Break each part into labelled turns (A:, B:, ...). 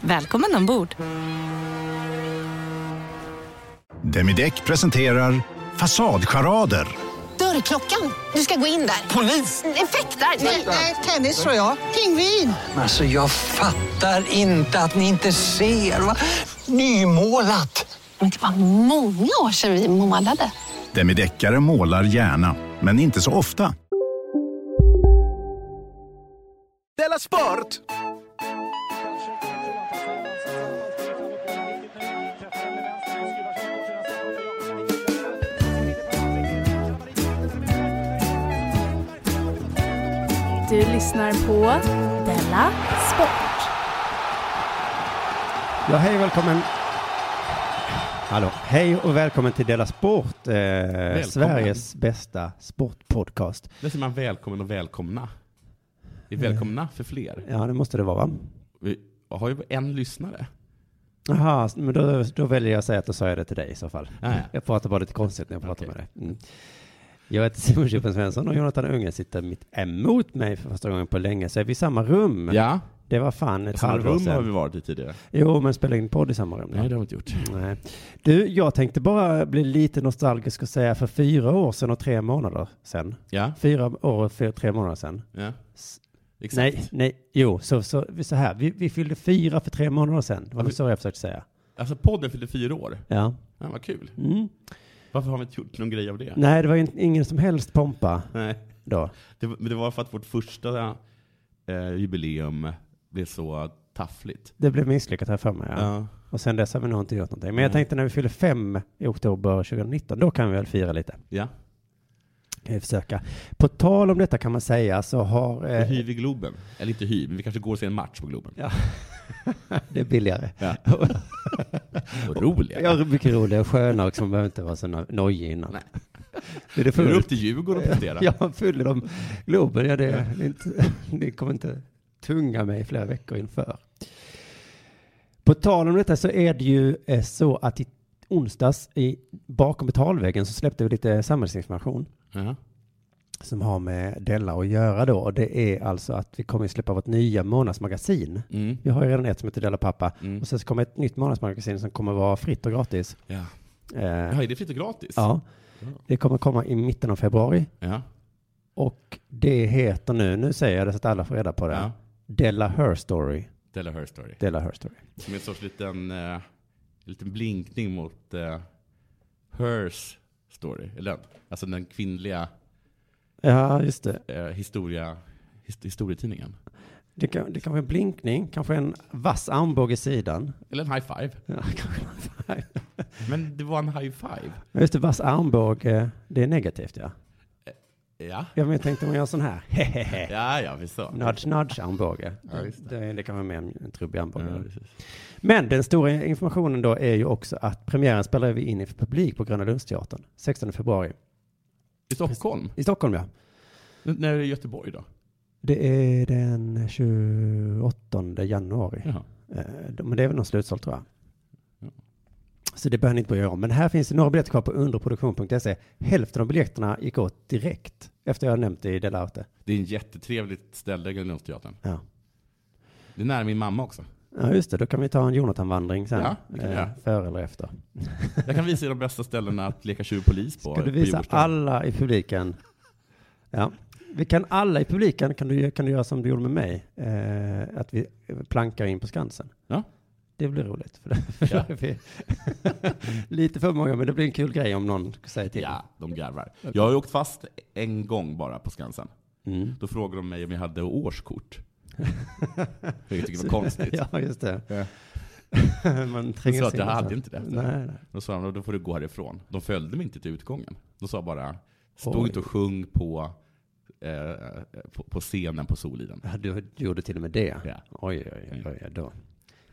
A: Välkommen ombord!
B: Demideck presenterar Fasadcharader.
C: Dörrklockan. Du ska gå in där.
D: Polis!
C: Effektar?
E: Nej, tennis tror jag. Pingvin.
D: Alltså jag fattar inte att ni inte ser. Va? Nymålat!
C: Men det var många år sedan vi målade.
B: Demideckare målar gärna, men inte så ofta. Della Sport!
F: Du lyssnar på Della Sport.
G: Ja, hej och välkommen. Hallå. Hej och välkommen till Dela Sport, eh, Sveriges bästa sportpodcast.
H: Där säger man välkommen och välkomna. Vi är välkomna för fler.
G: Ja, det måste det vara, va?
H: Vi har ju en lyssnare.
G: Jaha, men då, då väljer jag att säga att då sa jag det till dig i så fall.
H: Ja, ja.
G: Jag pratar bara lite konstigt när jag pratar
H: Okej.
G: med dig. Mm. Jag heter Simon Chippen Svensson och Jonathan Unge sitter mitt emot mig för första gången på länge, så är vi i samma rum.
H: Ja.
G: Det var fan ett
H: Samma
G: halvår
H: rum har vi
G: sedan.
H: varit i tidigare.
G: Jo, men spela in podd i samma rum.
H: Nej, det har vi inte gjort.
G: Nej. Du, jag tänkte bara bli lite nostalgisk och säga för fyra år sedan och tre månader sedan.
H: Ja.
G: Fyra år och fyra, tre månader sedan.
H: ja. Exakt.
G: Nej, nej, jo, så, så, så här, vi, vi fyllde fyra för tre månader sedan. Det var väl så jag försökte säga.
H: Alltså podden fyllde fyra år.
G: Ja.
H: Ja, vad kul.
G: Mm.
H: Varför har vi inte gjort någon grej av det?
G: Nej, det var ju ingen som helst pompa
H: Nej.
G: då.
H: Det, men det var för att vårt första eh, jubileum blev så taffligt.
G: Det blev misslyckat här för mig. Ja.
H: Ja.
G: Och sen dess har vi nog inte gjort någonting. Men jag tänkte när vi fyller fem i oktober 2019, då kan vi väl fira lite.
H: ja.
G: Kan vi försöka. På tal om detta kan man säga så har...
H: Vi
G: eh,
H: hyr vi Globen. Eller inte hyr, men vi kanske går och ser en match på Globen.
G: Ja. det är billigare.
H: Ja. Vad roligare.
G: Ja, mycket roligare och skönare också. Man behöver inte vara så no- nojig innan.
H: Nej.
G: Är det
H: Vi går
G: fullt?
H: upp till Djurgården och presterar.
G: Ja, fyller de Globen. Ja, det, det, är inte, det kommer inte tunga mig i flera veckor inför. På tal om detta så är det ju eh, så att i onsdags i, bakom betalväggen så släppte vi lite samhällsinformation
H: Ja.
G: som har med Della att göra då. Och det är alltså att vi kommer släppa vårt nya månadsmagasin.
H: Mm.
G: Vi har ju redan ett som heter Della Pappa.
H: Mm.
G: Och sen så kommer ett nytt månadsmagasin som kommer vara fritt och gratis.
H: Ja.
G: Eh,
H: Ja, är det fritt och gratis?
G: Ja, det kommer komma i mitten av februari.
H: Ja.
G: Och det heter nu, nu säger jag det så att alla får reda på det.
H: Ja.
G: Della Her Story.
H: Della Her Story.
G: Della Her Story.
H: Som en sorts liten, eh, liten blinkning mot eh, Hers Story. Eller den, alltså den kvinnliga
G: Ja, just det.
H: eh, historia, his, historietidningen.
G: Det, kan, det kanske är en blinkning, kanske en vass armbåge i sidan.
H: Eller en high five.
G: Ja, kanske.
H: Men det var en high five.
G: Men just det, vass armbåge, det är negativt ja.
H: Ja,
G: Ja, men jag tänkte om man gör sån här, hehehe.
H: ja, ja visst så.
G: Nudge, nudge armbåge.
H: Ja, just
G: det, det kan vara mer en en trubbig armbåge.
H: Ja, precis.
G: Men den stora informationen då är ju också att premiären spelar vi in i publik på Gröna Lundsteatern 16 februari.
H: I Stockholm?
G: I Stockholm ja.
H: N- När är det Göteborg då?
G: Det är den 28 januari.
H: Jaha.
G: Eh, de- Men det är väl någon slutsåld tror jag.
H: Ja.
G: Så det behöver ni inte bry er om. Men här finns det några biljetter kvar på underproduktion.se. Hälften av biljetterna gick åt direkt efter jag hade nämnt det i Dela Arte.
H: Det är en jättetrevligt ställe, Grönlundsteatern.
G: Ja.
H: Det är nära min mamma också.
G: ja, just det. Då kan vi ta en Jonathan-vandring sen. Eh,
H: Ja, det kan vi göra.
G: före eller efter.
H: Jag kan visa er de bästa ställena att leka tjuv och polis på.
G: Ska du
H: på
G: visa
H: Djurgårdsstaden.
G: alla i publiken? Ja. Vi kan alla i publiken, kan du, kan du göra som du gjorde med mig, eh, att vi plankar in på Skansen.
H: Ja.
G: Det blir roligt. För det, för
H: Ja.
G: det blir- lite för många, men det blir en kul grej om någon säger till.
H: Ja, de garvar. Jag har ju åkt fast en gång bara på Skansen.
G: Mm.
H: Då frågade de mig om jag hade årskort. Vilket jag tycker var konstigt.
G: Ja, just det.
H: Ja.
G: Man tränger
H: sa att
G: sig in
H: jag hade
G: sen.
H: inte det.
G: Nej, nej.
H: Då sa de, då får du gå härifrån. De följde mig inte till utgången. De sa bara, stå
G: Oj.
H: inte och sjung på, eh, på, på scenen på Soliden.
G: Ja, du, du gjorde till och med det.
H: Ja.
G: Oj, oj, oj, oj, då.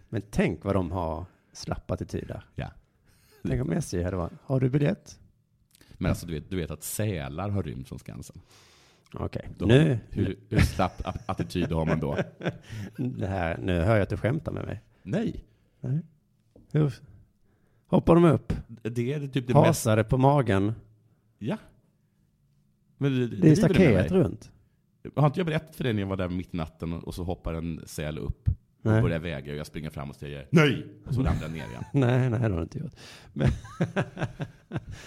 G: Men tänk vad de har slapp attityd där.
H: Ja.
G: Tänk om SJ hade varit, har du biljett?
H: Men alltså du vet, du vet att sälar har rymt från Skansen.
G: Okej,
H: Då-
G: nu,
H: Hur, hur slapp a- attityd har man då?
G: det här, nu hör jag att du skämtar med mig.
H: Nej,
G: Hur hoppar de upp,
H: det är typ det mest...
G: hasade på magen,
H: Ja. Men
G: det är
H: det, driver med mig.
G: staket runt.
H: Har inte jag berättat för dig när jag var där mitt i natten och och så hoppar en säl upp och
G: Nej.
H: börjar väga och jag springer fram och säger nej! Och så ramlar jag ner igen.
G: Nej, nej, det har du inte gjort. Men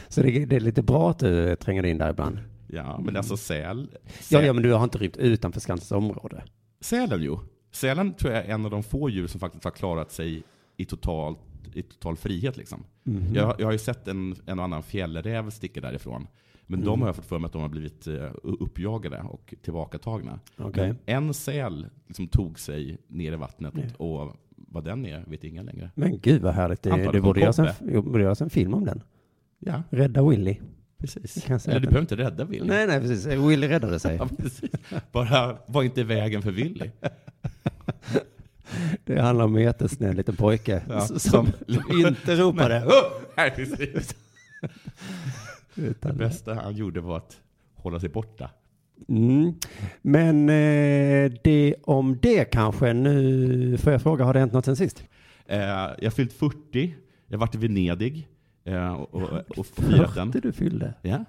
G: så det, det är lite bra att du eh, tränger in där ibland.
H: Ja, men alltså säl...
G: Ja,
H: säl
G: ja, men du har inte rymt utanför Skansens område.
H: Sälen jo. Sälen tror jag är en av de få djur som faktiskt har klarat sig i, totalt, i total frihet liksom.
G: Mm. Mhm.
H: Jag, jag har ju sett en, en och annan fjällräv sticka därifrån. Men
G: Mm.
H: de har jag fått för mig att de har blivit eh, uppjagade och tillbakatagna.
G: Okej.
H: En säl liksom tog sig ner i vattnet och vad den är vet ingen längre.
G: Men gud vad härligt. Det,
H: Antalet
G: det borde
H: på
G: göras en,
H: Poppe.
G: jo, borde göras en film om den.
H: Ja,
G: Rädda Willy.
H: precis.
G: Jag kan säga
H: Eller du
G: det.
H: behöver inte rädda Willy.
G: Nej, nej, precis. Willy räddade sig.
H: Ja, precis. Bara var inte i vägen för Willy.
G: Det handlar om en jättesnäll liten pojke
H: Ja,
G: som, som inte ropade.
H: Nej, precis. Det
G: Utan,
H: bästa han gjorde var att hålla sig borta.
G: Mm. Men eh, det om det kanske. Nu får jag fråga, har det hänt något sen sist?
H: Eh, jag har fyllt 40, jag har varit i Venedig eh, och, och, och firat den.
G: du fyllde.
H: Ja,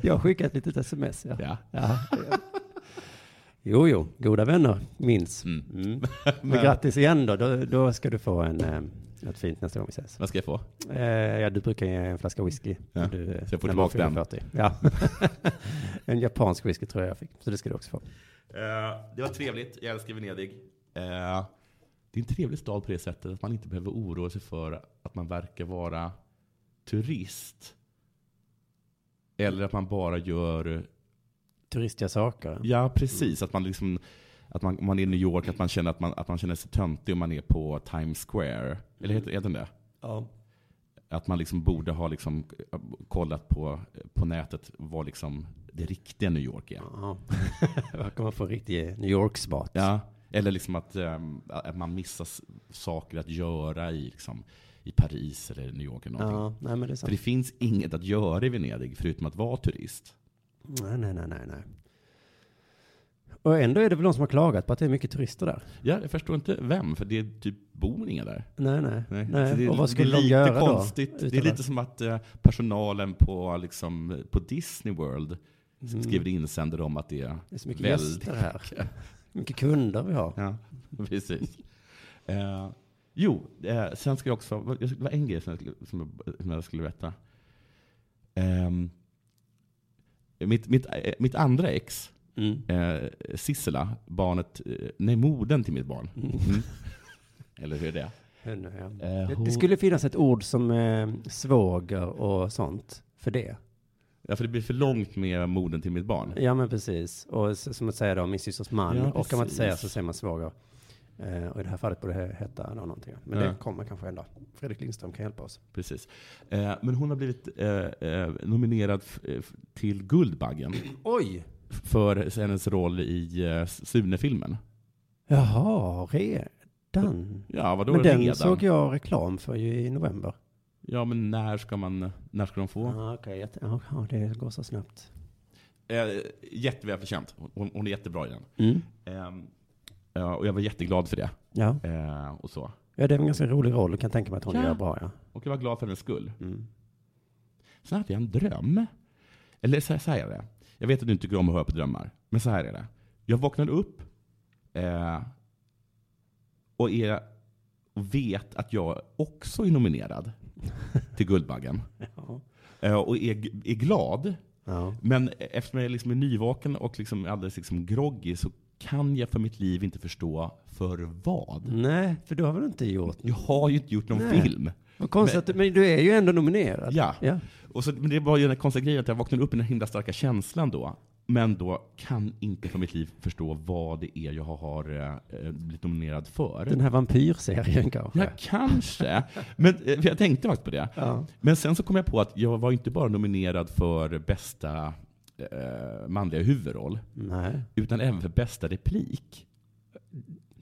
G: Jag har skickat ett litet sms. Ja.
H: ja.
G: Ja. Jo, jo, goda vänner minns.
H: Mm.
G: Mm. Men grattis igen då. då. Då ska du få en, eh, något fint nästa gång vi ses.
H: Vad ska jag få?
G: Eh, ja, du brukar ge en flaska whisky.
H: Ja,
G: Du,
H: så jag får
G: när man
H: tillbaka
G: fyller 40. Ja. en japansk whisky tror jag jag fick. Så det ska du också få.
H: Eh, det var trevligt, jag älskar Venedig. Eh, det är en trevlig stad på det sättet att man inte behöver oroa sig för att man verkar vara turist. Eller att man bara gör
G: Turistiga saker.
H: Ja, precis. Att man liksom att man, om man är i New York, att man känner, att man, att man känner sig töntig om man är på Times Square. Eller heter, heter den det?
G: Ja.
H: Att man liksom borde ha liksom eh, kollat på, på nätet vad liksom det riktiga New York är.
G: Ja. Verkar man få en riktig New York-spat.
H: Ja. Eller liksom att, ehm, att man missar s- saker att göra i, liksom, i Paris eller New York. Eller någonting.
G: Ja, nej men det är sant.
H: För det finns inget att göra i Venedig förutom att vara turist.
G: Nej, nej, nej, nej, nej. Och ändå är det väl de som har klagat på att det är mycket turister där.
H: Ja, jag förstår inte vem, för det typ bor inga där.
G: Nej, nej. nej.
H: Så det är-
G: och vad skulle
H: det är
G: de
H: lite
G: göra
H: konstigt.
G: då?
H: Det är lite som att eh, personalen på, liksom, på Disney World
G: Mm.
H: skriver insändare om att det är...
G: det är så mycket
H: väldigt
G: gäster här. Mycket kunder vi har.
H: Ja, precis. Eh, jo, eh, sen ska jag också... Det var en grej som jag skulle, som jag, som jag skulle berätta. Ehm, mitt, mitt, eh, mitt andra ex,
G: Mm.
H: eh, Sissela, barnet... Eh, nej, modern till mitt barn. Mm. Eller hur är det?
G: Henne, ja.
H: Eh,
G: Det,
H: hon-
G: det skulle finnas ett ord som eh, svåger och sånt för det.
H: Ja, för det blir för långt med modern till mitt barn.
G: Ja, men precis. Och s- som att säga då, min systers man.
H: Ja,
G: och kan man inte säga så
H: precis.
G: säger man svåger. Eh, och i det här fallet borde det heta då någonting. Men
H: Ja.
G: det kommer kanske en dag. Fredrik Lindström kan hjälpa oss.
H: Precis. Eh, men hon har blivit eh, eh, nominerad f- eh, f- till Guldbaggen
G: Oj!
H: för hennes roll i eh, Sune-filmen.
G: Jaha, redan.
H: Ja, vadå
G: men den
H: redan?
G: såg jag reklam för ju i november.
H: Ja, men när ska, man, när ska de få?
G: Ah, okay. jag t- Jaha, det går så snabbt.
H: Eh, jättevälförtjänt. Hon, hon är jättebra i den.
G: Mm.
H: Ehm, ja, och jag var jätteglad för det.
G: Ja.
H: Eh, och så.
G: ja, det är en ganska rolig roll. Jag kan tänka mig att hon
H: Ja.
G: gör bra. Ja.
H: Och jag var glad för hennes skull.
G: Mm.
H: Sen hade jag en dröm. Eller så här, så här är det. Jag vet att du inte tycker om att höra på drömmar. Men så här är det. Jag vaknade upp eh, och, är, och vet att jag också är nominerad till Guldbaggen.
G: Ja.
H: Eh, och är, g- är glad.
G: Ja.
H: Men eftersom jag liksom är nyvaken och liksom alldeles liksom groggy så kan jag för mitt liv inte förstå för vad.
G: Nej, för du har väl inte gjort
H: Jag har ju inte gjort någon
G: Nej.
H: film.
G: Vad konstigt, att du- men du är ju ändå nominerad.
H: Ja.
G: ja.
H: Och så, men det var ju den konstiga grejen att jag vaknade upp i den himla starka känslan då. Men då kan inte för mitt liv förstå vad det är jag har eh, blivit nominerad för.
G: Den här vampyrserien kanske.
H: Ja, kanske. Men eh, för jag tänkte faktiskt på det.
G: Ja.
H: Men sen så kom jag på att jag var inte bara nominerad för bästa eh, manliga huvudroll,
G: Nej.
H: utan även för bästa replik.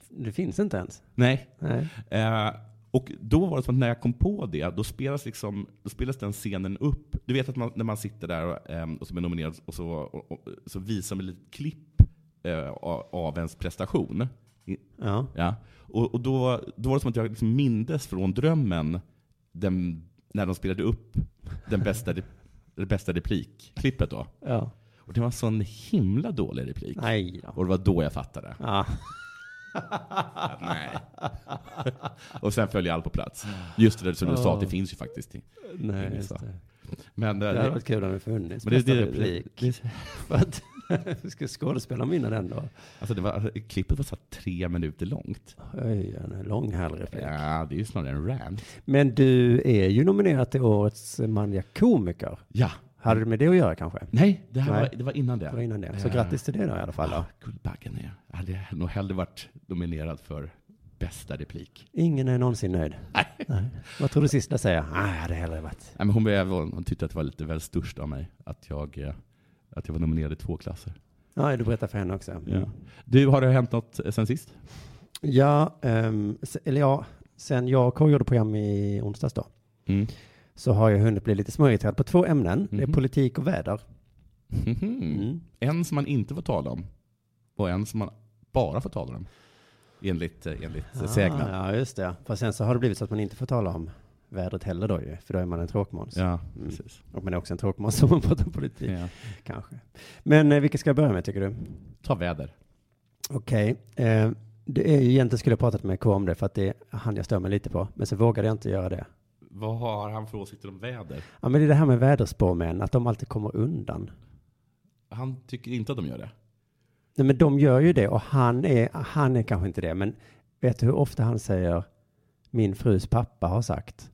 G: Det finns inte ens.
H: Nej.
G: Nej.
H: Eh, och då var det som att när jag kom på det, då spelas, liksom, då spelas den scenen upp. Du vet att man, när man sitter där och, ehm, och som är nominerad och så, och, och, så visar man lite klipp eh, av, av ens prestation. I-
G: Ja.
H: Ja. Och, och då, då var det som att jag liksom mindes från drömmen den, när de spelade upp den bästa, re- det bästa replikklippet då.
G: ja.
H: Och det var en sån himla dålig replik.
G: Nej då.
H: Och det var då jag fattade.
G: Ja.
H: Att nej. och sen föll jag allt på plats. Just det där som du sa, det finns ju faktiskt.
G: Nej, just
H: så.
G: det.
H: Men, eh,
G: Det hade varit kul om det funnits.
H: Men det-
G: Bästa
H: det-
G: replik.
H: det-
G: För att hur ska skådespelaren vinna den då?
H: alltså det var, alltså, klippet var så här tre minuter långt.
G: Oj, en lång härlig replik.
H: Ja, det är ju snarare en rant.
G: Men du är ju nominerad till årets manliga komiker.
H: Ja.
G: Hade du med det att göra kanske?
H: Nej, det, här
G: Nej.
H: Var, det var innan det.
G: Det var innan det. Så
H: Eh,
G: grattis till det då i alla fall. Då.
H: Ah, Guldbaggen är jag. hade nog hellre varit nominerad för bästa replik.
G: Ingen är någonsin nöjd. Nej. Vad tror du sista säger? Nej, jag hade hellre varit.
H: Nej, men hon, blev, hon tyckte att det var lite väl störst av mig att jag, eh, att jag var nominerad i två klasser.
G: Ja, du berättar för henne också. Mm.
H: Du, har det hänt något eh, sen sist?
G: Ja, ehm, s- eller ja, sen jag och K gjorde program i onsdags då,
H: Mm.
G: så har jag hunnit bli lite småirriterad på två ämnen. Det är
H: Mhm.
G: politik och väder. Mm.
H: En som man inte får tala om och en som man bara får tala om. Enligt, eh, enligt ah,
G: Ah,
H: sägnen.
G: ja, just det. För sen så har det blivit så att man inte får tala om vädret heller då ju, för då är man en tråkmåns.
H: Ja,
G: Mm.
H: precis.
G: Och man är också en tråkmåns om man pratar politik,
H: Ja.
G: kanske. Men eh, vilka ska jag börja med tycker du?
H: Ta väder.
G: Okej, eh, det är ju egentligen skulle jag pratat med K om det för att det är han jag stör mig lite på, men så vågade jag inte göra det.
H: Vad har han för åsikter om väder?
G: Ja, men det är det här med väderspåmän, att de alltid kommer undan.
H: Han tycker inte att de gör det.
G: Nej, men de gör ju det och han är, han är kanske inte det, men vet du hur ofta han säger min frus pappa har sagt?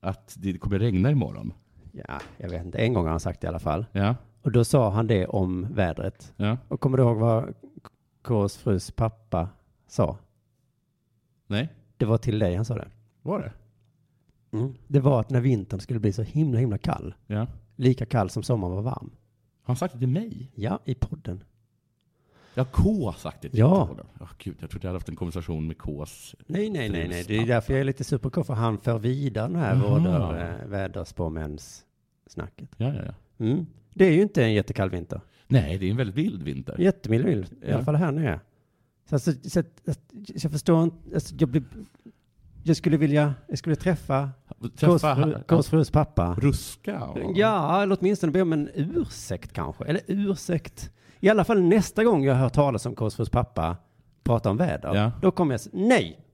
H: Att det kommer regna imorgon.
G: Ja, jag vet inte. En gång har han sagt det i alla fall.
H: Ja,
G: Och då sa han det om vädret.
H: ja.
G: Och kommer du ihåg vad Ks frus pappa sa?
H: Nej,
G: Det var till dig han sa det.
H: var det?
G: Det var att när vintern skulle bli så himla, himla kall,
H: Ja.
G: lika kall som sommaren var varm.
H: Har han sagt det till mig?
G: Ja, i podden.
H: Ja, K har sagt det till
G: Ja.
H: honom. Ja, gud, jag trodde jag hade haft en konversation med Ks.
G: Nej, nej, nej, nej. Det är
H: Frus
G: därför jag är lite super för han för vidare den här
H: Jaha.
G: vårdar, eh, väderspåmäns-snacket.
H: Ja, ja, ja.
G: Mm. Det är ju inte en jättekall vinter.
H: Nej, det är en väldigt vild vinter.
G: Jättemild vinter, i
H: Ja.
G: alla fall här nere. Så, alltså, så, att- att- så jag förstår inte, alltså, jag, blir, jag skulle vilja, jag skulle träffa Kås
H: Träffa
G: fru-
H: han-
G: Kås frus pappa.
H: Ruska? och-
G: Ja, eller åtminstone be om en ursäkt kanske, eller ursäkt. I alla fall nästa gång jag hör talas om Kås frus pappa prata om väder,
H: Ja.
G: då kommer jag s- nej,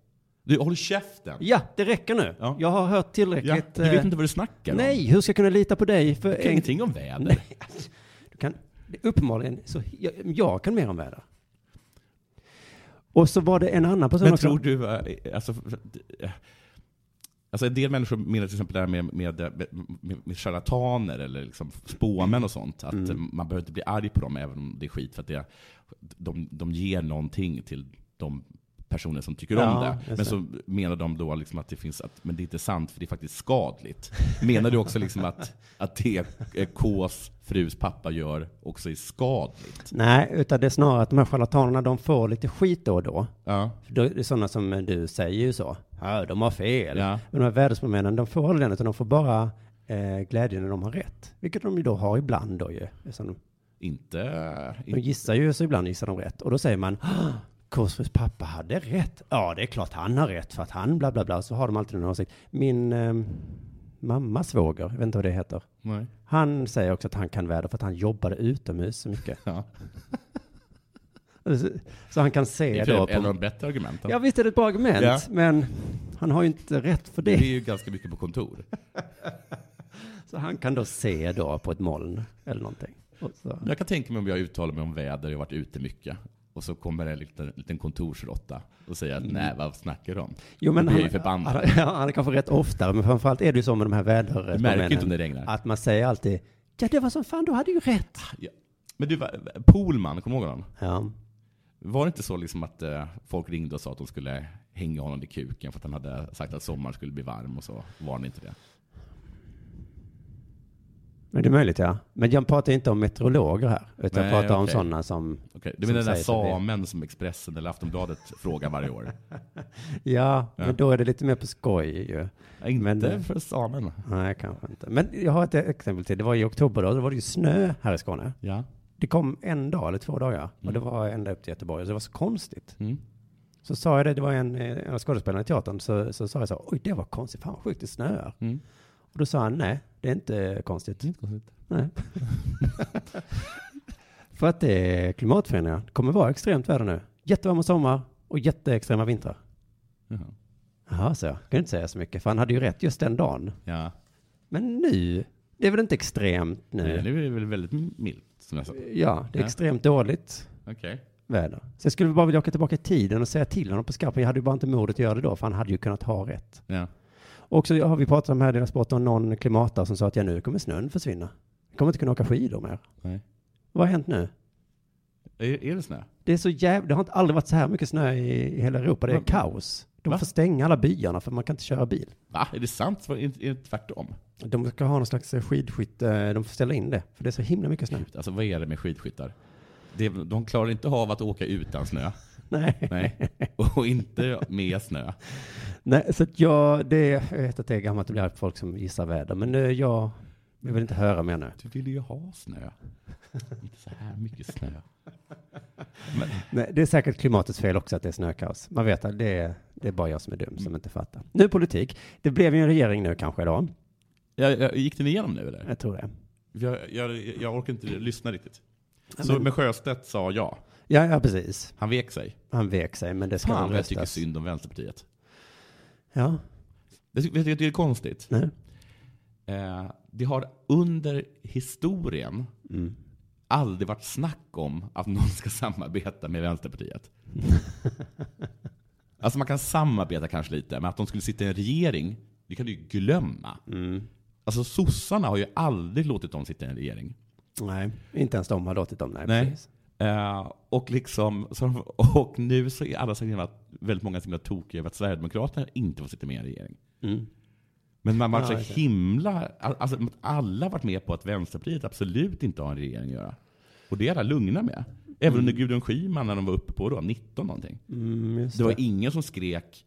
H: Du, håll käften!
G: ja, det räcker nu.
H: Ja.
G: Jag har hört
H: Ja,
G: tillräckligt.
H: du vet
G: eh,
H: inte vad du snackar om.
G: nej, hur ska jag kunna lita på dig? För
H: Du kan ingenting om väder.
G: Nej, alltså, du kan, det- uppenbarligen så, jag, jag kan mer om väder. Och så var det en annan person
H: Men
G: också.
H: tror du, eh, alltså, för- eh, alltså en del människor menar till exempel det här med, med, med, med charlataner eller liksom spåmän och sånt, att eh,
G: Mm.
H: man behöver inte bli arg på dem även om det är skit för att det, de, de ger någonting till de personer som tycker
G: Ja,
H: om det.
G: just
H: Men
G: det.
H: så menar de då liksom att det finns, att, men det är inte sant för det är faktiskt skadligt. Menar du också liksom att, att det eh, Ks frus pappa gör också är skadligt?
G: Nej, utan det är snarare att de här charlatanerna, de får lite skit då och då.
H: Ja.
G: Då är Det är sådana som du säger ju så. Ja, de har fel.
H: Ja.
G: Men de här väderspåmännen, de får aldrig den, utan de får bara eh, glädje när de har rätt. Vilket de ju då har ibland då ju. Eftersom de-
H: Inte... eh,
G: De gissar ju, så ibland gissar de rätt. Och då säger man, "Ah, Korsfrus pappa hade rätt. Ja, det är klart han har rätt för att han bla bla bla. Så har de alltid en åsikt. Min eh, mammas svåger, jag vet inte vad det heter.
H: Nej.
G: Han säger också att han kan väder för att han jobbade utomhus så mycket.
H: Ja.
G: Så- Så han kan
H: Det
G: se
H: är
G: då
H: ett av
G: på...
H: de bättre argumenten.
G: Ja, visst är det ett bra argument,
H: Ja.
G: men han har ju inte rätt för
H: Det
G: det.
H: är ju ganska mycket på kontor.
G: Så han kan då se då på ett moln eller någonting. Och så.
H: Men Jag kan tänka mig om jag uttalar mig om väder, jag har varit ute mycket. Och så kommer en liten, liten kontorsråtta och säger att nej, vad snackar du om?
G: Jo, men
H: Då blir jag ju
G: han, han,
H: förbannad.
G: ja, han är kanske rätt ofta, men framförallt är det ju så med de här vädermännen.
H: Du märker inte om det regnar.
G: Att man säger alltid, ja det var som fan, du hade ju rätt.
H: Ja. Men du, va- Pohlman, kommer du ihåg honom?
G: Ja,
H: Var det inte så liksom att eh, folk ringde och sa att de skulle hänga honom i kuken för att han hade sagt att sommaren skulle bli varm och så var han inte det?
G: Men det är möjligt, ja. Men jag pratar inte om meteorologer här, utan
H: Nej,
G: jag pratar om
H: okej.
G: sådana som...
H: Okej, Du
G: Som
H: menar den där
G: säger som det är.
H: samen som Expressen eller Aftonbladet frågar varje år?
G: Ja,
H: Ja.
G: men då är det lite mer på skoj ju.
H: Ja, Inte
G: Men- eh,
H: för samen.
G: Nej, kanske inte. Men jag har ett exempel till. Det var i oktober då, då var det ju snö här i Skåne.
H: Ja.
G: Det kom en dag eller två dagar och
H: Mm.
G: det var ända upp till Göteborg. Så det var så konstigt.
H: Mm.
G: Så sa jag det, det var en, eh, en av skådespelarna i teatern, så, så sa jag så här, oj det var konstigt, fan vad sjukt det snöar.
H: Mm.
G: Och då sa han, nej det är inte konstigt. Nej. För att det är klimatförändringar. Det kommer vara extremt väder nu. Jättevarma sommar och jätteextrema vintrar.
H: Jaha.
G: Jaha, så jag. Kan jag inte säga så mycket, för han hade ju rätt just den dagen.
H: Ja.
G: Men nu, det är väl inte extremt
H: Nej,
G: nu?
H: Nu är det väl väldigt milt, som jag sa.
G: Ja, det är
H: Ja.
G: extremt dåligt
H: Okej.
G: väder. Så jag skulle bara vilja åka tillbaka i tiden och säga till honom på skarpen. Jag hade ju bara inte modet att göra det då, för han hade ju kunnat ha rätt.
H: Ja.
G: Och så har vi pratat om här i deras sport om någon klimatare som sa att ja, nu kommer snön försvinna. Jag kommer inte kunna åka skidor mer.
H: Nej.
G: Vad har hänt nu?
H: Är, är det snö?
G: Det är så jävla, det har inte aldrig varit så här mycket snö i, i hela Europa. Det är
H: Va?
G: kaos. De
H: Va?
G: får stänga alla byarna för man kan inte köra bil.
H: Va? Är det sant? Var- Är det, är det tvärtom?
G: De ska ha någon slags eh, skidskytte, de får ställa in det. För det är så himla mycket snö.
H: Alltså vad är det med skidskyttar? Det, de klarar inte av att åka utan snö.
G: Nej.
H: Nej. Och inte med snö.
G: Nej, så att jag, det, jag vet att det är gammalt att bli arg på folk som gissar väder, men eh, jag jag vill inte höra mer nu.
H: Du ville ju ha snö. Inte så här mycket snö.
G: Nej, det är säkert klimatets fel också att det är snökaos. Man vet att det är, det är bara jag som är dum som
H: Mm.
G: inte fattar. Nu politik. Det blev ju en regering nu kanske idag.
H: Jag, jag, gick den igenom nu eller?
G: Jag tror det.
H: Jag, jag, jag orkar inte lyssna riktigt.
G: men-
H: Så med Sjöstedt sa ja.
G: Ja, ja precis.
H: Han vek sig.
G: Han vek sig, men det ska
H: Fan
G: väl
H: vad jag tycker
G: röstas.
H: synd om Vänsterpartiet.
G: Ja,
H: Jag tycker, jag tycker det är konstigt.
G: nej.
H: Eh, det har under historien
G: Mm.
H: aldrig varit snack om att någon ska samarbeta med Vänsterpartiet. alltså man kan samarbeta kanske lite, men att de skulle sitta i en regering, det kan du ju glömma.
G: Mm.
H: Alltså sossarna har ju aldrig låtit dem sitta i en regering.
G: Nej, inte ens de har låtit dem. Nej,
H: Nej.
G: precis.
H: Eh, och, liksom, så, de- och nu så är alla så himla, väldigt många så himla tokiga över att Sverigedemokraterna inte får sitta med i en regering.
G: Mm.
H: Men man var
G: Ja,
H: så
G: just det.
H: himla... Alltså, alla har varit med på att Vänsterpartiet absolut inte har en regering att göra. Och det är alla lugna med. Även under Gudrun Schyman när de var uppe på då, 19 någonting.
G: Mm, just
H: Det
G: det
H: var ingen som skrek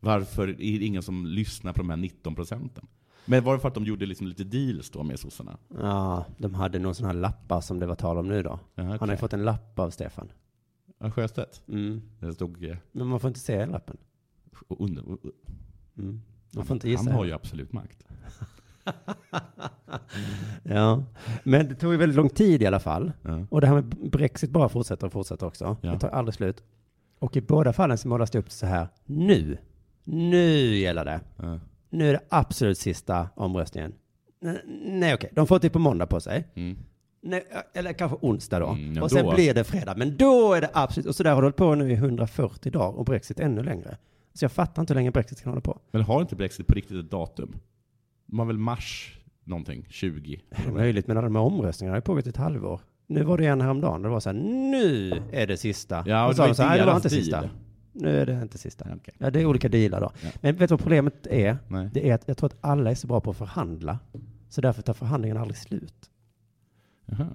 H: varför är det ingen som lyssnar på de här 19 procenten? Men var det för att de gjorde liksom lite deals då med sossarna?
G: Ja, de hade någon sån här lappar som det var tal om nu då.
H: Ja,
G: Han har
H: okej.
G: ju fått en lapp av Stefan.
H: Ja, Sjöstedt.
G: Mm.
H: Det stod... eh,
G: Men man får inte se lappen.
H: Under,
G: Mm. Man får inte gissa.
H: han har ju absolut makt.
G: Ja, men det tog ju väldigt lång tid i alla fall.
H: Ja.
G: Och det här med Brexit bara fortsätter och fortsätter också.
H: Ja.
G: Det tar aldrig slut. Och i båda fallen så målas det upp så här. Nu, nu gäller det.
H: Ja.
G: Nu är det absolut sista omröstningen. N- Nej, okej, de får typ på måndag på sig.
H: Mm.
G: Nej, eller kanske onsdag då.
H: Mm, ja,
G: och sen
H: då.
G: blir det fredag. Men då är det absolut. Och så där har det hållit på nu i 140 dagar och Brexit ännu längre. Så jag fattar inte hur länge Brexit kan hålla på.
H: Men har inte Brexit på riktigt ett datum? Man väl mars någonting, 20?
G: Det är möjligt, men alla de här omröstningarna har ju pågått i ett halvår. Nu var det en häromdagen, det var så här, nu är det sista.
H: Ja,
G: Och
H: och
G: så sa
H: det
G: de
H: var
G: så här, "Nej, det var
H: deras
G: inte
H: deal."
G: sista. Nu är det inte sista.
H: Ja, okej.
G: Ja, det är olika dealar då.
H: Ja.
G: Men vet du vad problemet är?
H: Nej.
G: Det är att jag tror att alla är så bra på att förhandla, så därför tar förhandlingen aldrig slut.
H: Jaha,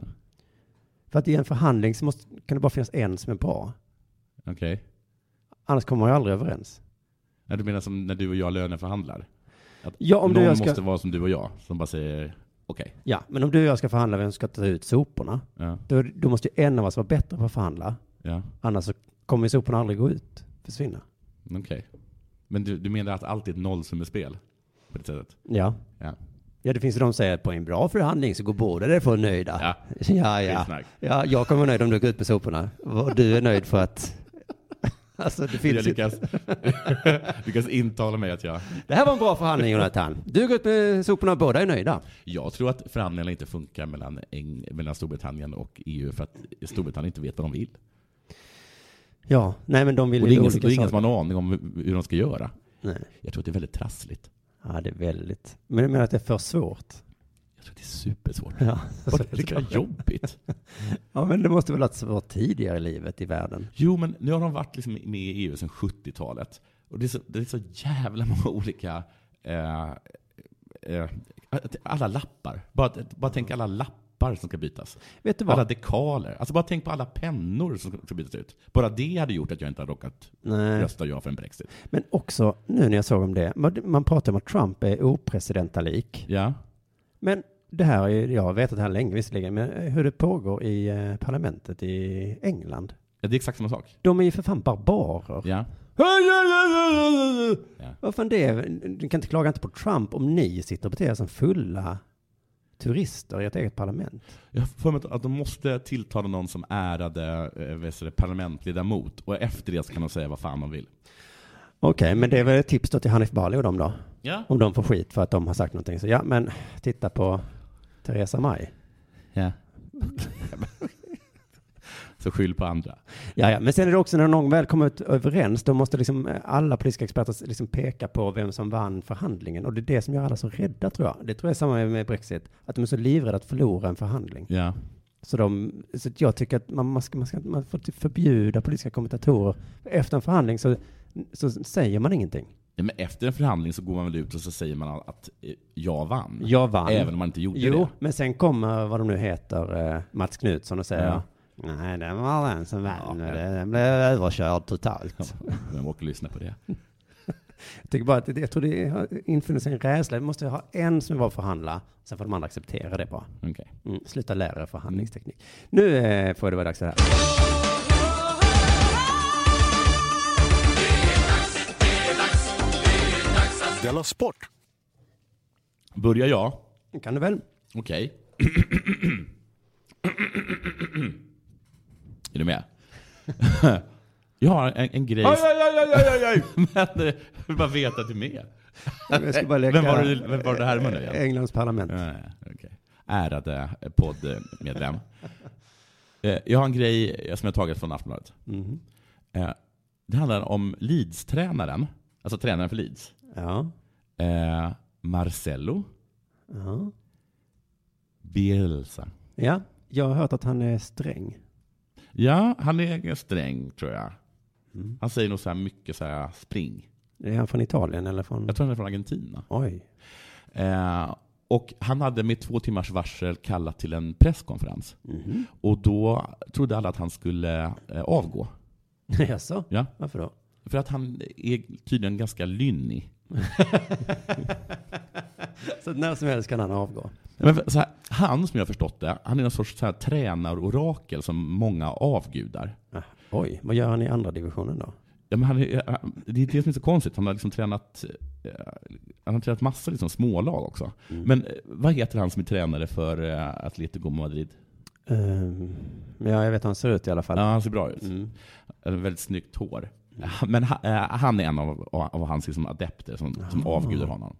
G: För att i en förhandling så måste, kan det bara finnas en som är bra.
H: Okej.
G: Annars kommer man ju aldrig överens.
H: Ja, Du menar som när du och jag löneförhandlar? Att
G: Ja, om du
H: någon
G: och jag ska-
H: måste vara som du och jag, som bara säger okej.
G: Ja, men om du och jag ska förhandla vem som ska ta ut soporna,
H: Ja,
G: då, då måste ju en av oss vara bättre på att förhandla.
H: ja,
G: Annars så kommer ju soporna aldrig gå ut, försvinna.
H: okej. Men du, du menar att allt är ett nollsummespel? På det sättet?
G: Ja.
H: Ja.
G: Ja, det finns ju de som säger att på en bra förhandling så går båda därifrån nöjda.
H: Ja.
G: ja,
H: Det är
G: ja.
H: snack.
G: ja jag kommer vara nöjd om du går ut med soporna. Och du är nöjd för att... Alltså, det
H: Jag
G: finns ju...
H: lyckas, lyckas intala mig att jag...
G: Det här var en bra förhandling, Jonathan. Du går ut med soporna och båda är nöjda.
H: Jag tror att förhandlingarna inte funkar mellan, Eng, mellan Storbritannien och EU för att Storbritannien inte vet vad de vill.
G: Ja, nej men de vill
H: Och det är
G: ju
H: ingen,
G: olika
H: det är ingen som
G: saker.
H: har någon aning om hur de ska göra.
G: Nej.
H: Jag tror att det är väldigt trassligt.
G: Ja, det är väldigt... Men du menar att det är för svårt?
H: Jag tror att det är supersvårt.
G: Ja,
H: Vad är det där jobbigt?
G: ja men det måste väl ha varit svårt tidigare i livet i världen.
H: Jo, men nu har de varit liksom med i EU sedan 70-talet. Och det är, så, det är så jävla många olika eh, eh, att- alla lappar. Bara, att- bara tänk alla lappar som ska bytas.
G: Vet du
H: Alla
G: vad?
H: dekaler. Alltså bara tänk på alla pennor som ska bytas ut. Bara det hade gjort att jag inte hade råkat
G: Nej.
H: rösta ja för en Brexit.
G: Men också, nu när jag såg om det, man- man pratar om att Trump är opresidentalik.
H: Ja.
G: Men det här, är ju- jag har vetat det här länge visserligen, men hur det pågår i eh, parlamentet i England.
H: Ja, Det är exakt samma sak.
G: De är ju för fan barbarer.
H: Ja.
G: Vad fan det är, du kan inte klaga inte på Trump om ni sitter och beter er som fulla turister i ett eget parlament.
H: Jag har för mig att- att de måste tilltala någon som ärade eh, vad heter det, parlamentledamot och efter det så kan de säga vad fan de vill.
G: Okej, men det är väl ett tips då till Hanif Bali och dem då?
H: Ja.
G: Om de får skit för att de har sagt någonting. Så ja, men titta på Theresa May.
H: ja. så skyll på andra.
G: Ja, ja, men sen är det också när någon väl kommer ut överens, då måste liksom eh, alla politiska experter liksom peka på vem som vann förhandlingen. Och det är det som gör alla så rädda tror jag. Det tror jag är samma med Brexit, att de är så livrädda att förlora en förhandling.
H: Ja.
G: Så, de, så att jag tycker att man, man, ska, man, ska, man får typ förbjuda politiska kommentatorer. Efter en förhandling så, så säger man ingenting.
H: Nej, Men efter en förhandling så går man väl ut och så säger man att eh, jag vann.
G: Jag vann.
H: Även om man inte gjorde
G: jo,
H: det.
G: men sen kommer, vad de nu heter, eh, Mats Knutsson och säger
H: Ja.
G: Nej, det var den som vann.
H: Ja.
G: och det- Den blev överkörd totalt.
H: Vem orkar lyssna på det?
G: Jag tycker bara att det, jag tror det har infunnit sig en rädsla. Vi måste ha en som är bra på att förhandla, sen får de andra acceptera det bara.
H: Okej.
G: Mm. Sluta lära er förhandlingsteknik.
H: Mm.
G: Nu eh, får det vara dags för det här.
I: Della Sport!
H: Börjar jag?
G: Kan du väl?
H: Okej. är du med? jag har en, en grej... Aj, aj, aj, aj, aj, aj. Men eh, jag vill bara veta att du är med.
G: Jag ska bara leka
H: Vem var det, vem var det här med nu igen?
G: Englands parlament.
H: Nej, okej. Ärade poddmedlem. Eh, jag har en grej som jag tagit från Aftonbladet.
G: Mhm.
H: Eh, Det handlar om Leeds-tränaren, alltså tränaren för Leeds,
G: Ja.
H: eh, Marcelo
G: ja.
H: Bielsa.
G: Ja, jag har hört att han är sträng.
H: Ja, han är ganska sträng tror jag. Han säger nog så här mycket så här spring.
G: Är han från Italien eller från...
H: Jag tror han är från Argentina.
G: Oj.
H: Eh, och han hade med två timmars varsel kallat till en presskonferens. Och då trodde alla att han skulle eh, avgå.
G: Jaså?
H: Ja.
G: Varför då?
H: För att han är tydligen ganska lynnig.
G: Så att när som helst kan han avgå.
H: Men för- så här, han, som jag har förstått det, han är någon sorts så här, tränarorakel som många avgudar.
G: Ah, oj, vad gör han i andra divisionen då?
H: Ja, men han är, det är det som är så konstigt. Han har liksom tränat, eh, han har tränat massa liksom smålag också. Men eh, vad heter han som är tränare för eh, Atletico Madrid?
G: Ehm, ja, jag vet hur han ser ut i alla fall.
H: Ja, han ser bra ut.
G: Mm.
H: Eh, Väldigt snyggt hår. Men ha- eh, han är en av, av hans liksom adepter som, som avgudar honom.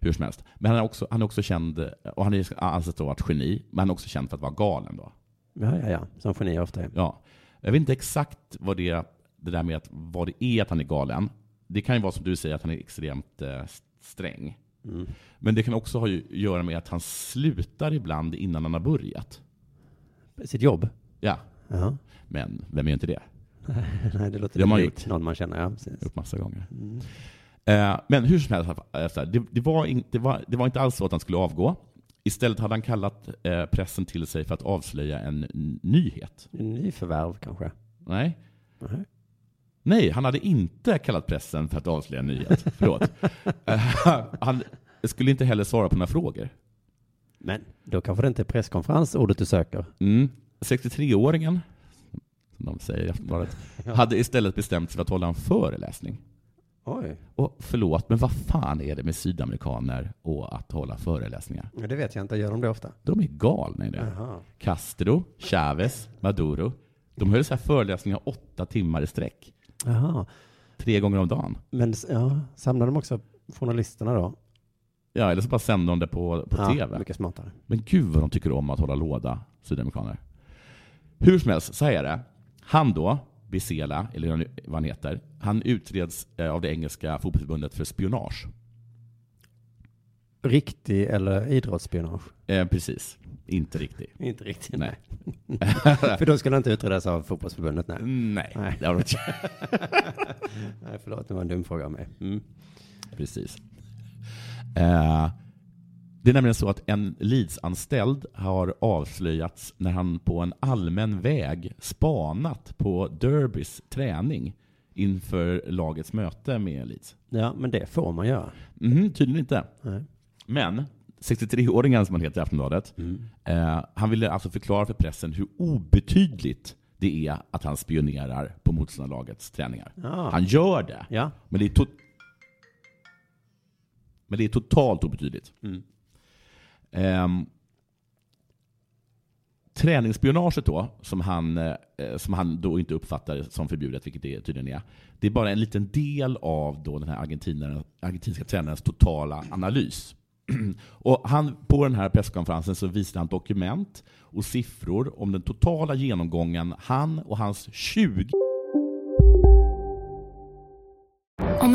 H: Hur som helst. Men han är också, han är också känd, och han är ansett att vara ett geni, men han är också känd för att vara galen då.
G: Ja, ja, ja. Som genier ofta är.
H: Ja. Jag vet inte exakt vad det, det där med att, vad det är att han är galen. Det kan ju vara som du säger, att han är extremt eh, sträng. Men det kan också ha ju, göra med att han slutar ibland innan han har börjat.
G: Sitt jobb?
H: Ja,
G: Ja.
H: men vem gör inte det?
G: Nej, det låter
H: Det har man
G: lite likt
H: gjort.
G: någon man känner. Ja, precis.
H: gjort massa gånger. Eh, men hur som helst, eh, så här, det, det, var in, det, var, det var inte alls så att han skulle avgå. Istället hade han kallat eh, pressen till sig för att avslöja en n- nyhet.
G: Nyförvärv kanske?
H: Nej.
G: Nej.
H: Nej, han hade inte kallat pressen för att avslöja en nyhet. Förlåt. Eh, han skulle inte heller svara på några frågor.
G: Men då kanske det inte är presskonferens ordet du söker.
H: Mm. 63-åringen, som de säger i Aftonbladet, hade istället bestämt sig för att hålla en föreläsning.
G: Oj.
H: Och förlåt, men vad fan är det med sydamerikaner och att hålla föreläsningar?
G: Ja, det vet jag inte. Gör de det ofta?
H: De är galna i det.
G: Jaha.
H: Castro, Chavez, Maduro. De höll så här föreläsningar åtta timmar i sträck.
G: Jaha.
H: Tre gånger om dagen.
G: Men ja, samlar de också journalisterna då?
H: Ja, eller så bara sände de det på, på
G: ja,
H: TV.
G: Mycket smartare.
H: Men gud vad de tycker om att hålla låda, sydamerikaner. Hur som helst, så här är det. Han då, Bisela, eller vad han heter, han utreds eh, av det engelska fotbollsförbundet för spionage.
G: Riktig eller idrottsspionage?
H: Eh, precis, inte riktigt.
G: Inte riktigt.
H: Nej.
G: För då skulle han inte utredas av fotbollsförbundet. Nej.
H: Nej,
G: Nej.
H: det har de inte
G: nej, förlåt. Det var en dum fråga av mig. Mm.
H: Precis. Eh, Det är nämligen så att en Leeds-anställd har avslöjats när han på en allmän väg spanat på Derbys träning inför lagets möte med Leeds.
G: Ja, men det får man göra.
H: Mhm, tydligen inte.
G: Nej.
H: Men 63-åringen som han heter i Aftonbladet,
G: Mm.
H: eh, han ville alltså förklara för pressen hur obetydligt det är att han spionerar på motståndarlagets träningar.
G: Ah.
H: Han gör det,
G: Ja.
H: men det är, tot- men det är totalt obetydligt. Ehm, träningsspionaget då, som han, eh, som han då inte uppfattar som förbjudet, vilket det tydligen är, det är bara en liten del av då den här argentinaren- argentinska tränarens totala analys. Och han, på den här presskonferensen så visade han dokument och siffror om den totala genomgången han och hans 20
I: Om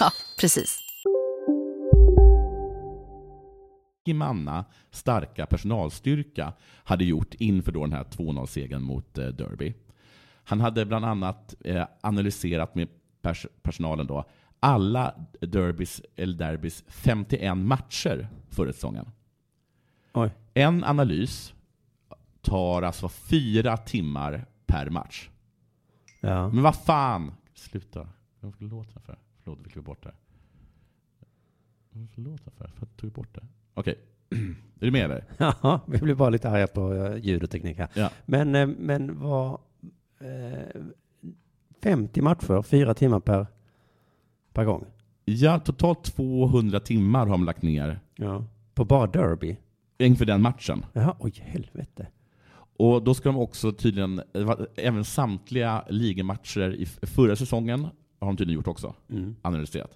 J: Ja, precis.
H: manna starka personalstyrka hade gjort inför då den här 2-0-segern mot eh, Derby. Han hade bland annat eh, analyserat med pers- personalen då alla Derbys, eller derbys 51 matcher förra säsongen. En analys tar alltså fyra timmar per match. Men vad fan! Sluta. Vad skulle låten för? Förlåt, vi klippte bort det. här. Vad skulle låten för? För att tog vi bort det. Okej. Är du med eller?
G: Ja, vi blev bara lite arga på eh, ljud och teknik här.
H: Ja.
G: Men, eh, men vad... Eh, 50 matcher, fyra timmar per, per gång.
H: Ja, totalt 200 timmar har de lagt ner.
G: Ja. På bara derby?
H: Inför den matchen.
G: Jaha, oj helvete.
H: Och då ska de också tydligen, eh, va- även samtliga ligamatcher i f- förra säsongen har de tydligen gjort också.
G: Mm.
H: Analyserat.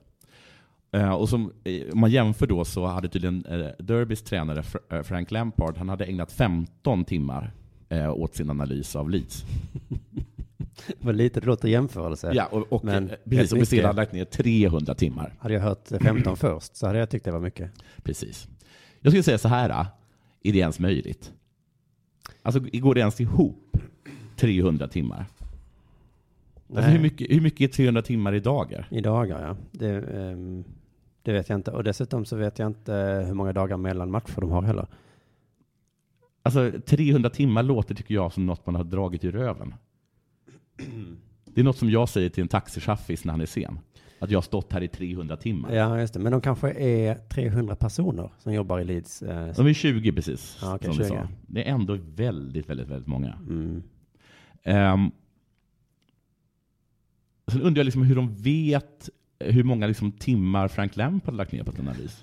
H: Eh, Och som, eh, om man jämför då så hade tydligen eh, Derbys tränare Fr- eh, Frank Lampard, han hade ägnat 15 timmar eh, åt sin analys av Leeds.
G: Vad lite det låter i jämförelse.
H: Ja, och, och
G: Men
H: eh, precis, och vi
G: mycket.
H: sedan lagt ner 300 timmar.
G: Hade jag hört eh, 15 först så hade jag tyckt det var mycket.
H: Precis. Jag skulle säga så här, ah, är det ens möjligt? Alltså, går det ens ihop 300 timmar? Alltså,
G: Nej.
H: hur, mycket, hur mycket är 300 timmar i dagar?
G: I dagar, ja. Det, ehm, det vet jag inte. Och dessutom så vet jag inte eh, hur många dagar mellan matcher de har heller.
H: Alltså, 300 timmar låter, tycker jag, som något man har dragit i röven. Det är något som jag säger till en taxichaffis när han är sen. Att jag har stått här i 300 timmar.
G: Ja, just det. Men de kanske är 300 personer som jobbar i Leeds. eh,
H: De är 20 precis,
G: Ja, okej,
H: som du
G: 20.
H: sa. Det är ändå väldigt, väldigt, väldigt många.
G: Mm.
H: Um, sen undrar jag liksom hur de vet hur många liksom timmar Frank Lampard lagt ner på ett analys.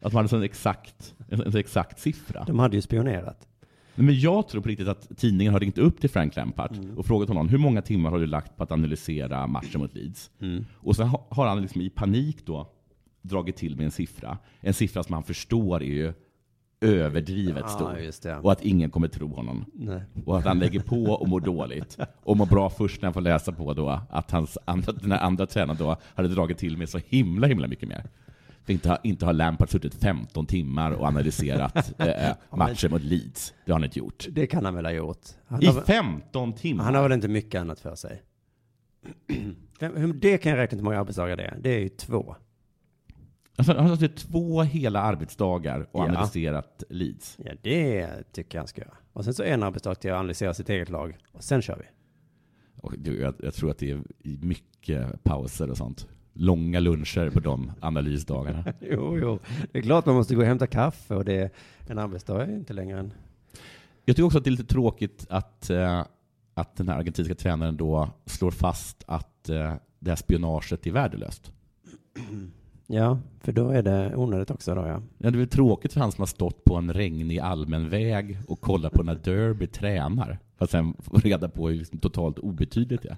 H: Att man hade sån exakt, en, en exakt siffra.
G: De hade ju spionerat.
H: Nej, Men jag tror på riktigt att tidningen har ringt upp till Frank Lampard och frågat honom hur många timmar har du lagt på att analysera matchen mot Leeds? Och sen ha- har han liksom i panik då dragit till med en siffra. En siffra som han förstår är ju överdrivet
G: Ja,
H: stor.
G: just det.
H: Och att ingen kommer tro honom.
G: Nej.
H: Och att han lägger på och mår dåligt. Och mår bra först när han får läsa på då att hans andra, den här andra tränaren då hade dragit till med så himla, himla mycket mer. För inte, har- inte har Lampard suttit 15 timmar och analyserat eh, matchen mot Leeds. Det har han inte gjort.
G: Det kan han väl ha gjort. Han
H: I
G: har väl-
H: 15 timmar?
G: Han har väl inte mycket annat för sig. Fem- hur- det kan jag räkna till hur många arbetsdagar det är. Det är ju två.
H: Alltså, han har suttit två hela arbetsdagar och
G: Ja.
H: analyserat Leeds.
G: Ja, det tycker jag han ska göra. Och sen så en arbetsdag till att analysera sitt eget lag. Och sen kör vi.
H: Och det- jag, jag tror att det är mycket pauser och sånt. Långa luncher på de analysdagarna.
G: Jo, jo. Det är klart man måste gå och hämta kaffe och det är en arbetsdag är ju inte längre än...
H: Jag tycker också att det är lite tråkigt att eh, att den här argentinska tränaren då slår fast att eh, det här spionaget är värdelöst.
G: Ja, för då är det onödigt också då ja.
H: Ja, det är väl tråkigt för han som har stått på en regnig allmän väg och kollat på när Derby tränar. För att sen få reda på hur liksom totalt obetydligt det är.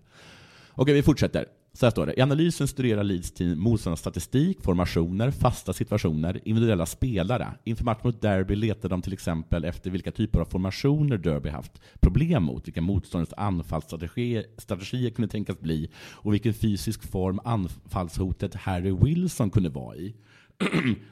H: Okej, vi fortsätter. Så här står det. I analysen studerar Leeds team motståndarnas statistik, formationer, fasta situationer, individuella spelare. Inför matchen mot Derby letar de till exempel efter vilka typer av formationer Derby haft problem mot, vilka motståndarnas anfallsstrategier strategier kunde tänkas bli och vilken fysisk form anfallshotet Harry Wilson kunde vara i.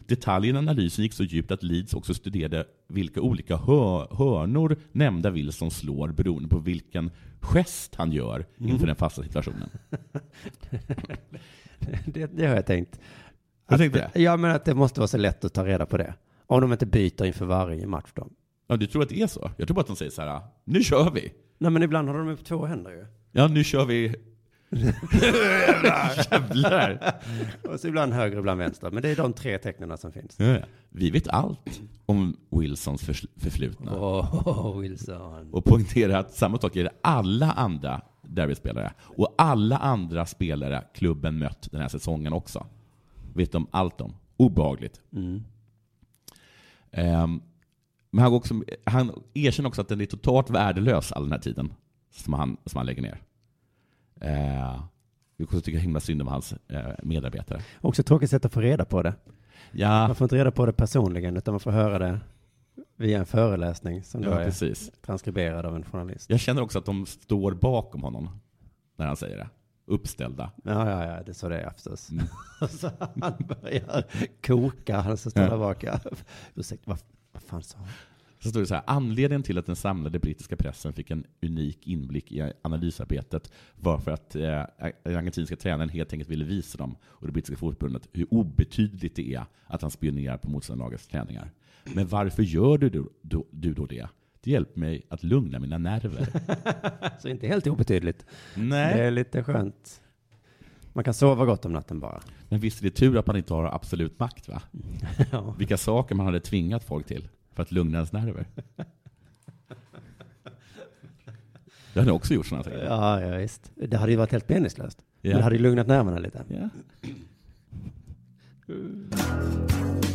H: Detaljen i analysen gick så djupt att Leeds också studerade vilka olika hö- hörnor nämnda Wilson slår beroende på vilken gest han gör inför
G: Mm.
H: den fasta situationen.
G: det, det har jag tänkt.
H: Har du
G: Att-
H: tänkt
G: Ja, men att det måste vara så lätt att ta reda på det. Om de inte byter inför varje match då.
H: Ja, du tror att det är så? Jag tror bara att de säger så här, nu kör vi!
G: Nej, men ibland har de upp två händer ju.
H: Ja, nu kör vi! Jävlar!
G: Och så ibland höger, ibland vänster. Men det är de tre tecknen som finns.
H: Ja, ja. Vi vet allt om Wilsons förs- förflutna.
G: Åh, Wilson.
H: Och poängterar att samma sak gäller alla andra derbyspelare. Och alla andra spelare klubben mött den här säsongen också. Vet de allt om. Obehagligt.
G: Mm.
H: Ehm, men han, går också, han erkänner också att den är totalt värdelös all den här tiden som han, som han lägger ner. Eh, vi kommer tycka himla synd om hans eh, medarbetare.
G: Också ett tråkigt sätt att få reda på det.
H: Ja.
G: Man får inte reda på det personligen, utan man får höra det via en föreläsning som
H: Ja,
G: då är
H: precis.
G: transkriberad av en journalist.
H: Jag känner också att de står bakom honom när han säger det. Uppställda.
G: Ja, ja, ja, det är så det är förstås. så han börjar koka, han som står där bak. ja. Ursäkta, vad, vad fan sa han?
H: Så står det så här, anledningen till att den samlade brittiska pressen fick en unik inblick i analysarbetet var för att eh, den argentinska tränaren helt enkelt ville visa dem och det brittiska fotbollsförbundet hur obetydligt det är att han spionerar på motståndarlagets träningar. Men varför gör du då, då, du då det? Det hjälper mig att lugna mina nerver.
G: Så inte helt obetydligt.
H: Nej.
G: Det är lite skönt. Man kan sova gott om natten bara.
H: Men visst är det tur att man inte har absolut makt va?
G: Ja.
H: Vilka saker man hade tvingat folk till för att lugna ens nerver. Jag hade också gjort sådana saker.
G: Ja, ja, visst. Det hade ju varit helt meningslöst.
H: Ja.
G: Men det hade ju lugnat nerverna lite.
H: Ja.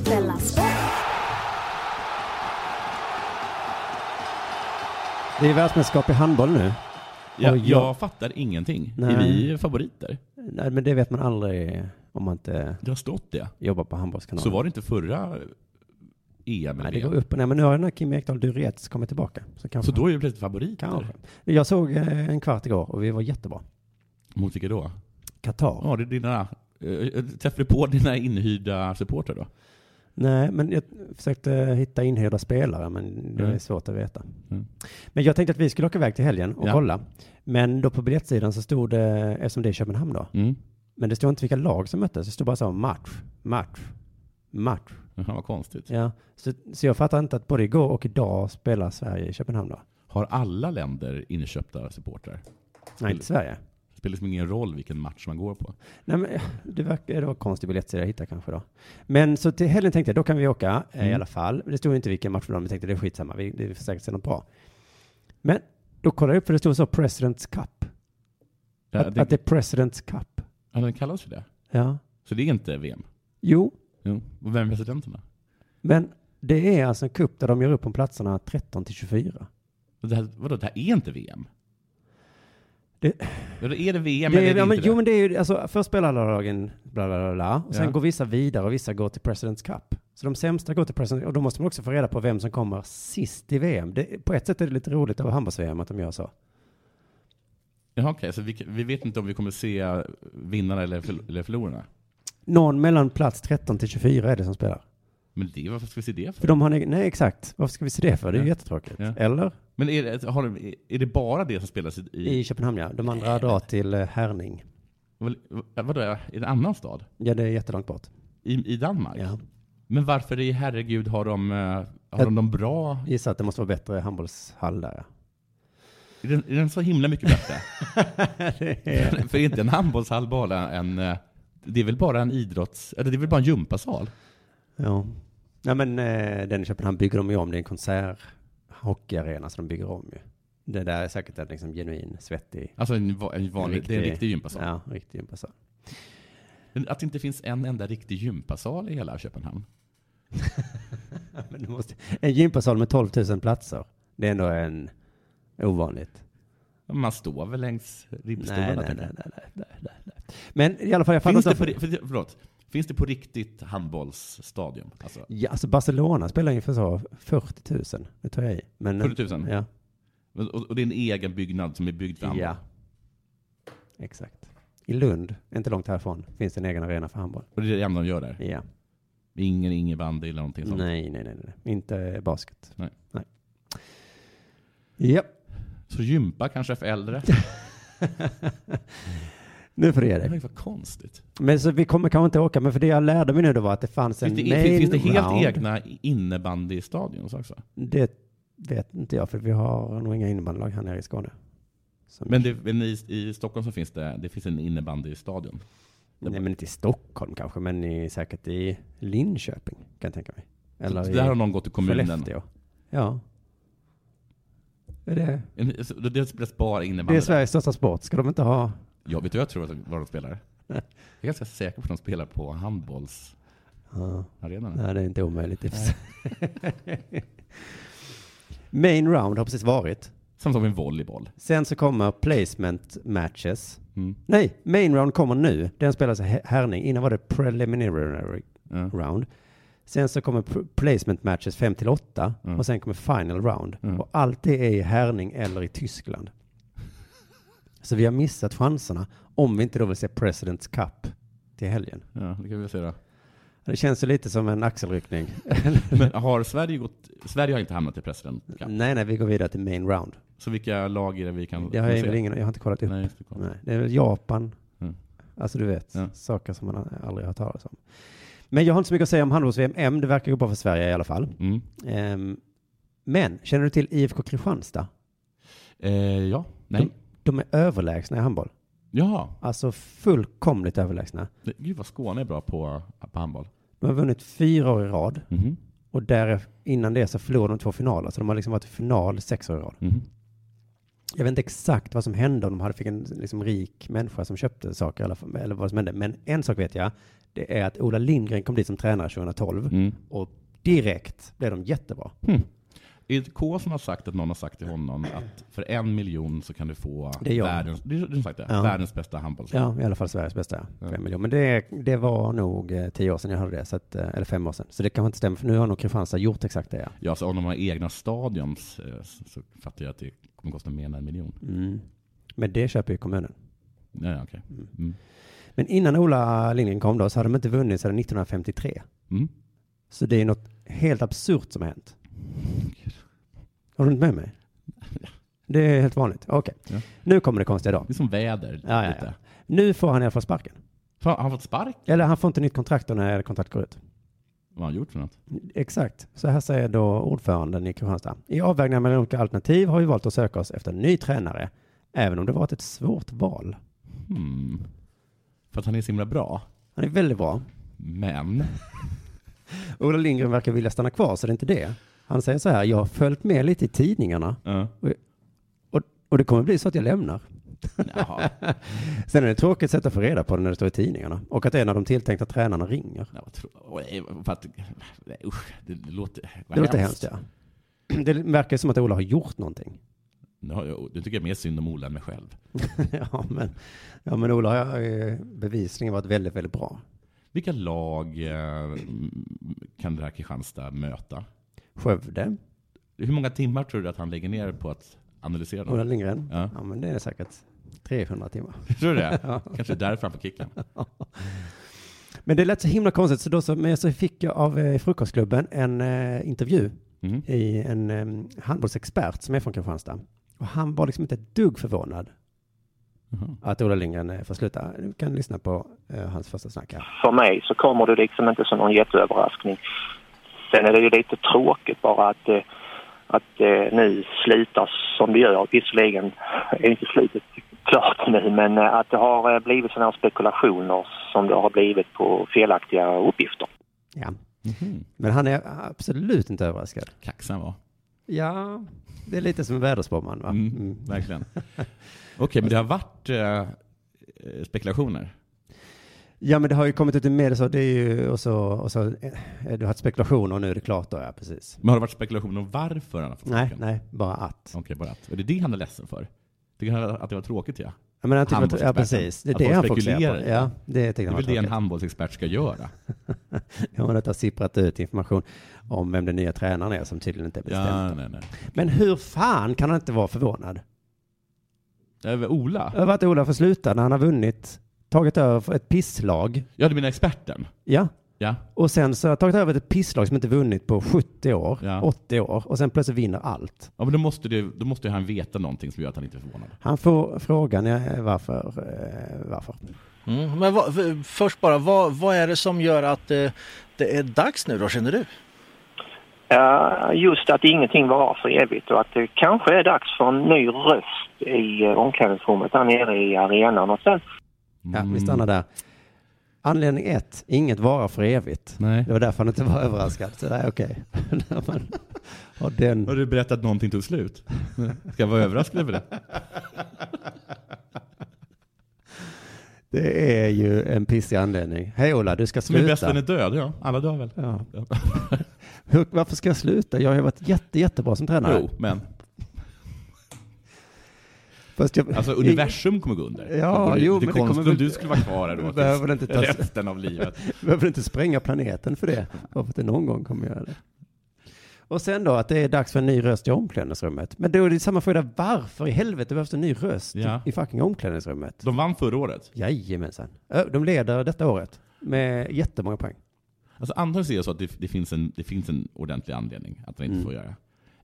F: Della Sport.
G: Det är världsmästerskap i handboll nu.
H: Jag,
G: Och
H: jag, fattar ingenting.
G: Nej.
H: Är vi favoriter?
G: Nej, men det vet man aldrig om man inte
H: Det har stått det.
G: jobbar på handbollskanalen.
H: Så var det inte förra EM eller
G: Nej, det går
H: VM.
G: upp och ner. Men nu har den här Kim Ekdahl Durets kommit tillbaka. Så, kanske.
H: Så då är vi plötsligt favoriter.
G: Kanske. Jag såg eh, en kvart igår och vi var jättebra.
H: Mot vilka då?
G: Qatar.
H: Ja, det är dina... eh, Träffade du på dina inhyrda supportrar då?
G: Nej, men jag försökte hitta inhyrda spelare, men det
H: Mm.
G: är svårt att veta.
H: Mm.
G: Men jag tänkte att vi skulle åka iväg till helgen och
H: Ja.
G: kolla. Men då på biljettsidan så stod det, eftersom det är Köpenhamn då,
H: Mm.
G: men det stod inte vilka lag som möttes, det stod bara så här, match, match, match.
H: Jaha, vad konstigt.
G: Ja, så, så jag fattar inte att både igår och idag spelar Sverige i Köpenhamn då.
H: Har alla länder inköpta supportrar?
G: Nej, inte Sverige.
H: Det spelar liksom ingen roll vilken match man går på.
G: Nej, men det, verkar, det var konstig biljettsida jag hittade kanske då. Men så till helgen tänkte jag, då kan vi åka eh, i
H: Mm.
G: alla fall. Det stod inte vilken match det var, men jag tänkte det är skitsamma, vi, det är säkert se något bra. Men då kollade jag upp, för det stod så President's Cup.
H: Ja,
G: att,
H: det-
G: att det är President's Cup.
H: Ja, den kallas för det.
G: Ja.
H: Så det är inte VM?
G: Jo,
H: Jo. Och vem är presidenterna?
G: men det är alltså en cup där de gör upp om platserna 13 till 24.
H: Det här, vadå, det här är inte VM?
G: Det-
H: Ja, då är det VM
G: det
H: eller
G: är,
H: är det
G: ja, men,
H: inte
G: jo,
H: det?
G: men det är ju, alltså först spelar alla lagen bla bla bla, bla och sen
H: Ja.
G: går vissa vidare och vissa går till President's Cup. Så de sämsta går till President's och då måste man också få reda på vem som kommer sist i VM. Det, på ett sätt är det lite roligt av handbolls-VM att de gör så.
H: Jaha, okej. Så vi, vi vet inte om vi kommer se vinnarna eller, förl- eller förlorarna.
G: Någon mellan plats 13 till 24 är det som spelar.
H: Men det, varför ska vi se det för?
G: För de har, en- nej exakt, varför ska vi se det för? Det är ju
H: Ja.
G: jättetråkigt.
H: Ja.
G: Eller?
H: Men är det, har de, är det bara det som spelas i...
G: I Köpenhamn ja, de andra drar till eh, Herning.
H: Vad- Vadå, i en annan stad?
G: Ja, det är jättelångt bort.
H: I, i Danmark?
G: Ja.
H: Men varför i herregud har de, eh, har
G: Jag-
H: de de bra?
G: Gissa att det måste vara bättre handbollshall där.
H: Är den, är den så himla mycket bättre?
G: är-
H: för är inte en handbollshall bara en... eh, Det är väl bara en idrotts... Eller det är väl bara en gympasal?
G: Ja. Nej men eh, den i Köpenhamn bygger de ju om, det är en konsert hockeyarena så de bygger om ju. Det där är säkert en liksom genuin, svettig.
H: Alltså en, va- en vanlig, det är en riktig gympasal.
G: Ja, en riktig gympasal.
H: Men Att det inte finns en enda riktig gympasal i hela Köpenhamn.
G: Men du måste, en gympasal med 12 000 platser. Det är ändå en ovanligt.
H: Man står väl längs ribbstolarna?
G: Nej, nej,
H: tänker jag.
G: nej, nej, nej, nej, nej. Men i alla fall, jag
H: Typ Finns
G: fattar
H: det,
G: inte
H: på,
G: varför-
H: ri- för, förlåt, finns det på riktigt handbollsstadion? Alltså,
G: Ja, alltså Barcelona spelar ungefär så 40 000. Nu tar jag i. Men,
H: 40 000?
G: Ja,
H: och, och det är en egen byggnad som är byggd för handboll?
G: Ja. exakt. I Lund, inte långt härifrån, finns det en egen arena för handboll.
H: Och det är det enda de gör där?
G: Ja.
H: Ingen innebandy eller någonting sånt?
G: Nej, nej, nej, nej. Inte basket.
H: Nej.
G: nej. Ja,
H: Så gympa kanske är för äldre?
G: nu får du ge
H: det
G: dig.
H: är vad konstigt.
G: Men så vi kommer kanske inte åka, men för det jag lärde mig nu då var att det fanns en
H: Finns det,
G: main
H: finns det helt
G: round.
H: egna innebandystadions också?
G: Det vet inte jag, för vi har nog inga innebandylag här nere i Skåne. Som-
H: Men, det, men i, i Stockholm så finns det, det finns en innebandystadion.
G: Nej, men inte i Stockholm kanske, men i, säkert i Linköping kan jag tänka mig. Eller
H: Så
G: i
H: där har någon gått till kommunen.
G: Skellefteå. Ja. Är det,
H: En- så Det spelas bara innebandy.
G: det är
H: där.
G: Sveriges största sport. Ska de inte ha?
H: Ja, vet du vad jag tror att vad de spelar? Jag är ganska säker på att de spelar på handbollsarenan.
G: Ja. Nej, det är inte omöjligt. i och för sig. Main round har precis varit.
H: Som som en volleyboll.
G: Sen så kommer placement matches.
H: Mm.
G: Nej, main round kommer nu. Den spelas i Hä- Härning. Innan var det preliminary round. Sen så kommer pr- placement matches 5 till 8 och sen kommer final round. Och allt det är i Härning eller i Tyskland. Så vi har missat chanserna om vi inte då vill se President's Cup till helgen.
H: Ja, det kan vi säga. då.
G: Det känns ju lite som en axelryckning.
H: Men har Sverige gått... Sverige har inte hamnat i president.
G: nej, nej, vi går vidare till main round.
H: Så vilka lag är det vi kan
G: Det har jag,
H: se?
G: väl ingen, jag har inte kollat upp.
H: Nej,
G: Nej,
H: just det, kolla.
G: det är väl Japan.
H: Mm.
G: Alltså du vet,
H: Ja.
G: saker som man aldrig har hört talas om. Men jag har inte så mycket att säga om handbolls-VM än. Det verkar gå bra för Sverige i alla fall.
H: Mm.
G: Ehm, men, känner du till IFK Kristianstad?
H: Eh, ja. Nej.
G: De, de är överlägsna i handboll.
H: Ja.
G: Alltså fullkomligt överlägsna.
H: Det- Gud vad Skåne är bra på, på handboll.
G: De har vunnit fyra år i rad.
H: Mhm.
G: Och där, innan det så förlorade de två finaler. Så de har liksom varit i final sex år i rad.
H: Mhm.
G: Jag vet inte exakt vad som hände om de hade fick en liksom, rik människa som köpte saker eller, eller vad som hände. Men en sak vet jag. Det är att Ola Lindgren kom dit som tränare 2012
H: Mm.
G: och direkt blev de jättebra.
H: Hmm. Är det K som har sagt att någon har sagt till honom att för en miljon så kan du få
G: Det är jag.
H: världens, det är du som sagt det,
G: Ja.
H: världens bästa handbollslag?
G: Ja, i alla fall Sveriges bästa. Fem miljoner. Men det, det var nog eh, tio år sedan jag hörde det, så att, eh, eller fem år sedan. Så det kanske inte stämmer, för nu har nog Kristianstad gjort exakt det. Ja.
H: Ja, så om de har egna stadions eh, så så fattar jag att det kommer kosta mer än en miljon.
G: Mm. Men det köper ju kommunen.
H: Ja, ja, okej. Mm.
G: Men innan Ola Lindgren kom då så hade de inte vunnit sedan 1953.
H: Mm.
G: Så det är något helt absurt som har hänt. Har du inte med mig? Det är helt vanligt. Okej.
H: Ja.
G: Nu kommer det konstiga då.
H: Det är som väder.
G: Ja, ja, ja.
H: lite.
G: Nu får han i alla fall sparken.
H: Fan, har han fått spark?
G: Eller han får inte nytt kontrakt då när kontrakt går ut.
H: Vad har han gjort för något?
G: Exakt. Så här säger då ordföranden i Kristianstad. I avvägningar mellan olika alternativ har vi valt att söka oss efter en ny tränare, även om det varit ett svårt val.
H: Hmm. För att han är så himla bra.
G: Han är väldigt bra.
H: Men,
G: Ola Lindgren verkar vilja stanna kvar, så det är inte det. Han säger så här, jag har följt med lite i tidningarna
H: Ja.
G: och, och, och det kommer bli så att jag lämnar.
H: jaha.
G: Sen är det ett tråkigt sätt att få reda på det när det står i tidningarna och att en av de tilltänkta tränarna ringer.
H: Ja, vad tro- oj, för att, nej, usch, det låter vad
G: Det låter hemskt, ja. Det verkar som att Ola har gjort någonting.
H: Nu har jag- nu tycker jag mer synd om Ola än mig själv.
G: ja, men, ja, men Ola har eh, bevisligen varit väldigt, väldigt bra.
H: Vilka lag eh, kan det här Kristianstad möta?
G: Skövde,
H: Hur många timmar tror du att han lägger ner på att analysera
G: Ola
H: dem?
G: Lindgren.
H: Ja.
G: Ja. men det är säkert 300 timmar.
H: Tror du det? Kanske därför han får kicken.
G: Men det lät så himla konstigt, så då så, men så fick jag av eh, Frukostklubben en eh, intervju
H: Mhm.
G: i en eh, handbollsexpert som är från Kristianstad. Och han var liksom inte ett dugg förvånad
H: Jaha.
G: att Ola Lindgren eh, får sluta. Du kan lyssna på eh, hans första snack här.
K: för mig så kommer det liksom inte som någon jätteöverraskning. Sen är det ju lite tråkigt bara att, eh, att eh, nu slutar som det gör. Visserligen är inte slutet klart nu men eh, att det har eh, blivit sådana här spekulationer som det har blivit på felaktiga uppgifter.
H: Mm-hmm.
G: Ja. Men han är absolut inte överraskad.
H: Kaxan var.
G: Ja, det är lite som väderspåman va?
H: Mm, Verkligen. Okej, men det har varit eh, spekulationer.
G: Ja, men det har ju kommit ut i media så det är ju, och så, och så, eh, du har haft spekulationer och nu är det klart då, ja precis.
H: Men har det varit spekulationer om varför han har fått
G: Nej,
H: sparken?
G: nej, bara att.
H: Okej, bara att. Och det är det han är ledsen för? Tycker han att det var tråkigt ja?
G: Jag menar, han tycker att-
H: Handbollsexperten.
G: ja, precis. Det är
H: Att
G: det
H: folk
G: han fokuserar på.
H: spekulerar i
G: Ja, det tycker
H: det är
G: han
H: väl
G: var
H: det en
G: tråkigt.
H: handbollsexpert ska göra?
G: Ja, men att det har sipprat ut information om vem den nya tränaren är som tydligen inte är bestämt.
H: Ja, nej, nej.
G: Men hur fan kan han inte vara förvånad?
H: Över Ola?
G: Över att Ola får sluta när han har vunnit, tagit över för ett pisslag.
H: Ja, du menar experten?
G: Ja.
H: Ja.
G: Och sen så har jag tagit över ett pisslag som inte vunnit på 70 år,
H: Ja.
G: 80 år och sen plötsligt vinner allt.
H: Ja, men då måste, det, då måste ju han veta någonting som gör att han inte är förvånad.
G: Han får frågan eh, varför, eh, varför.
L: Mm, men vad, för- först bara, vad, vad är det som gör att eh, det är dags nu då, känner du?
K: Eh, Just att ingenting varar för evigt och att det kanske är dags för en ny röst i eh, omklädningsrummet där nere i arenan. Och sen
G: Ja,
H: Mm.
G: vi stannar där. Anledning ett, inget varar för evigt. Det var därför han inte var överraskad. Så det är okej. När man har den...
H: Har du berättat att någonting tog slut? Ska jag vara överraskad över det?
G: Det är ju en pissig anledning. Hej Ola, du ska
H: Som är
G: sluta.
H: bäst den är död, ja. Alla dör väl?
G: Ja. Hur, varför ska jag sluta? Jag har ju varit jätte, jättebra som tränare.
H: Jo, men.
G: Fast jag,
H: Alltså universum kommer gå under.
G: Ja,
H: det vore
G: jo,
H: lite
G: men det
H: konstigt
G: kommer väl-
H: om du skulle vara kvar här då.
G: Behöver det inte
H: tills
G: ta-
H: Resten av livet.
G: behöver inte spränga planeten för det. Hoppas att det någon gång kommer göra det. Och sen då att det är dags för en ny röst i omklädningsrummet. Men då är det samma fråga, varför i helvete behövs det en ny röst
H: Ja.
G: i fucking omklädningsrummet?
H: De vann förra året.
G: Jajamensan. Ö, De leder detta året med jättemånga poäng.
H: Alltså antagligen är det så att det, det, finns en, det finns en ordentlig anledning att han inte
G: Mm.
H: får göra.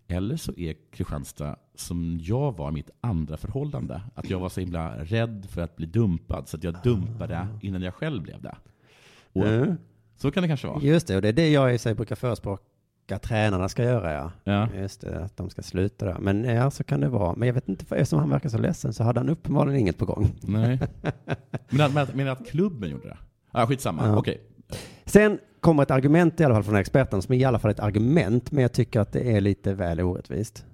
H: Eller så är Kristianstad, som jag var i mitt andra förhållande, att jag var så himla rädd för att bli dumpad så att jag dumpade
G: Ah.
H: innan jag själv blev det. Och,
G: Mm.
H: Så kan det kanske vara.
G: Just det, och det är det jag i sig brukar förespråka tränarna ska göra, ja.
H: Ja.
G: Just det, att de ska sluta där. Men ja, så kan det vara. Men jag vet inte, för eftersom han verkar så ledsen så hade han uppenbarligen inget på gång.
H: Nej. Men att, men att, men att klubben gjorde det? Ah, skitsamma,
G: Ja.
H: okej.
G: Sen kommer ett argument i alla fall från experten som är i alla fall ett argument, men jag tycker att det är lite väl orättvist.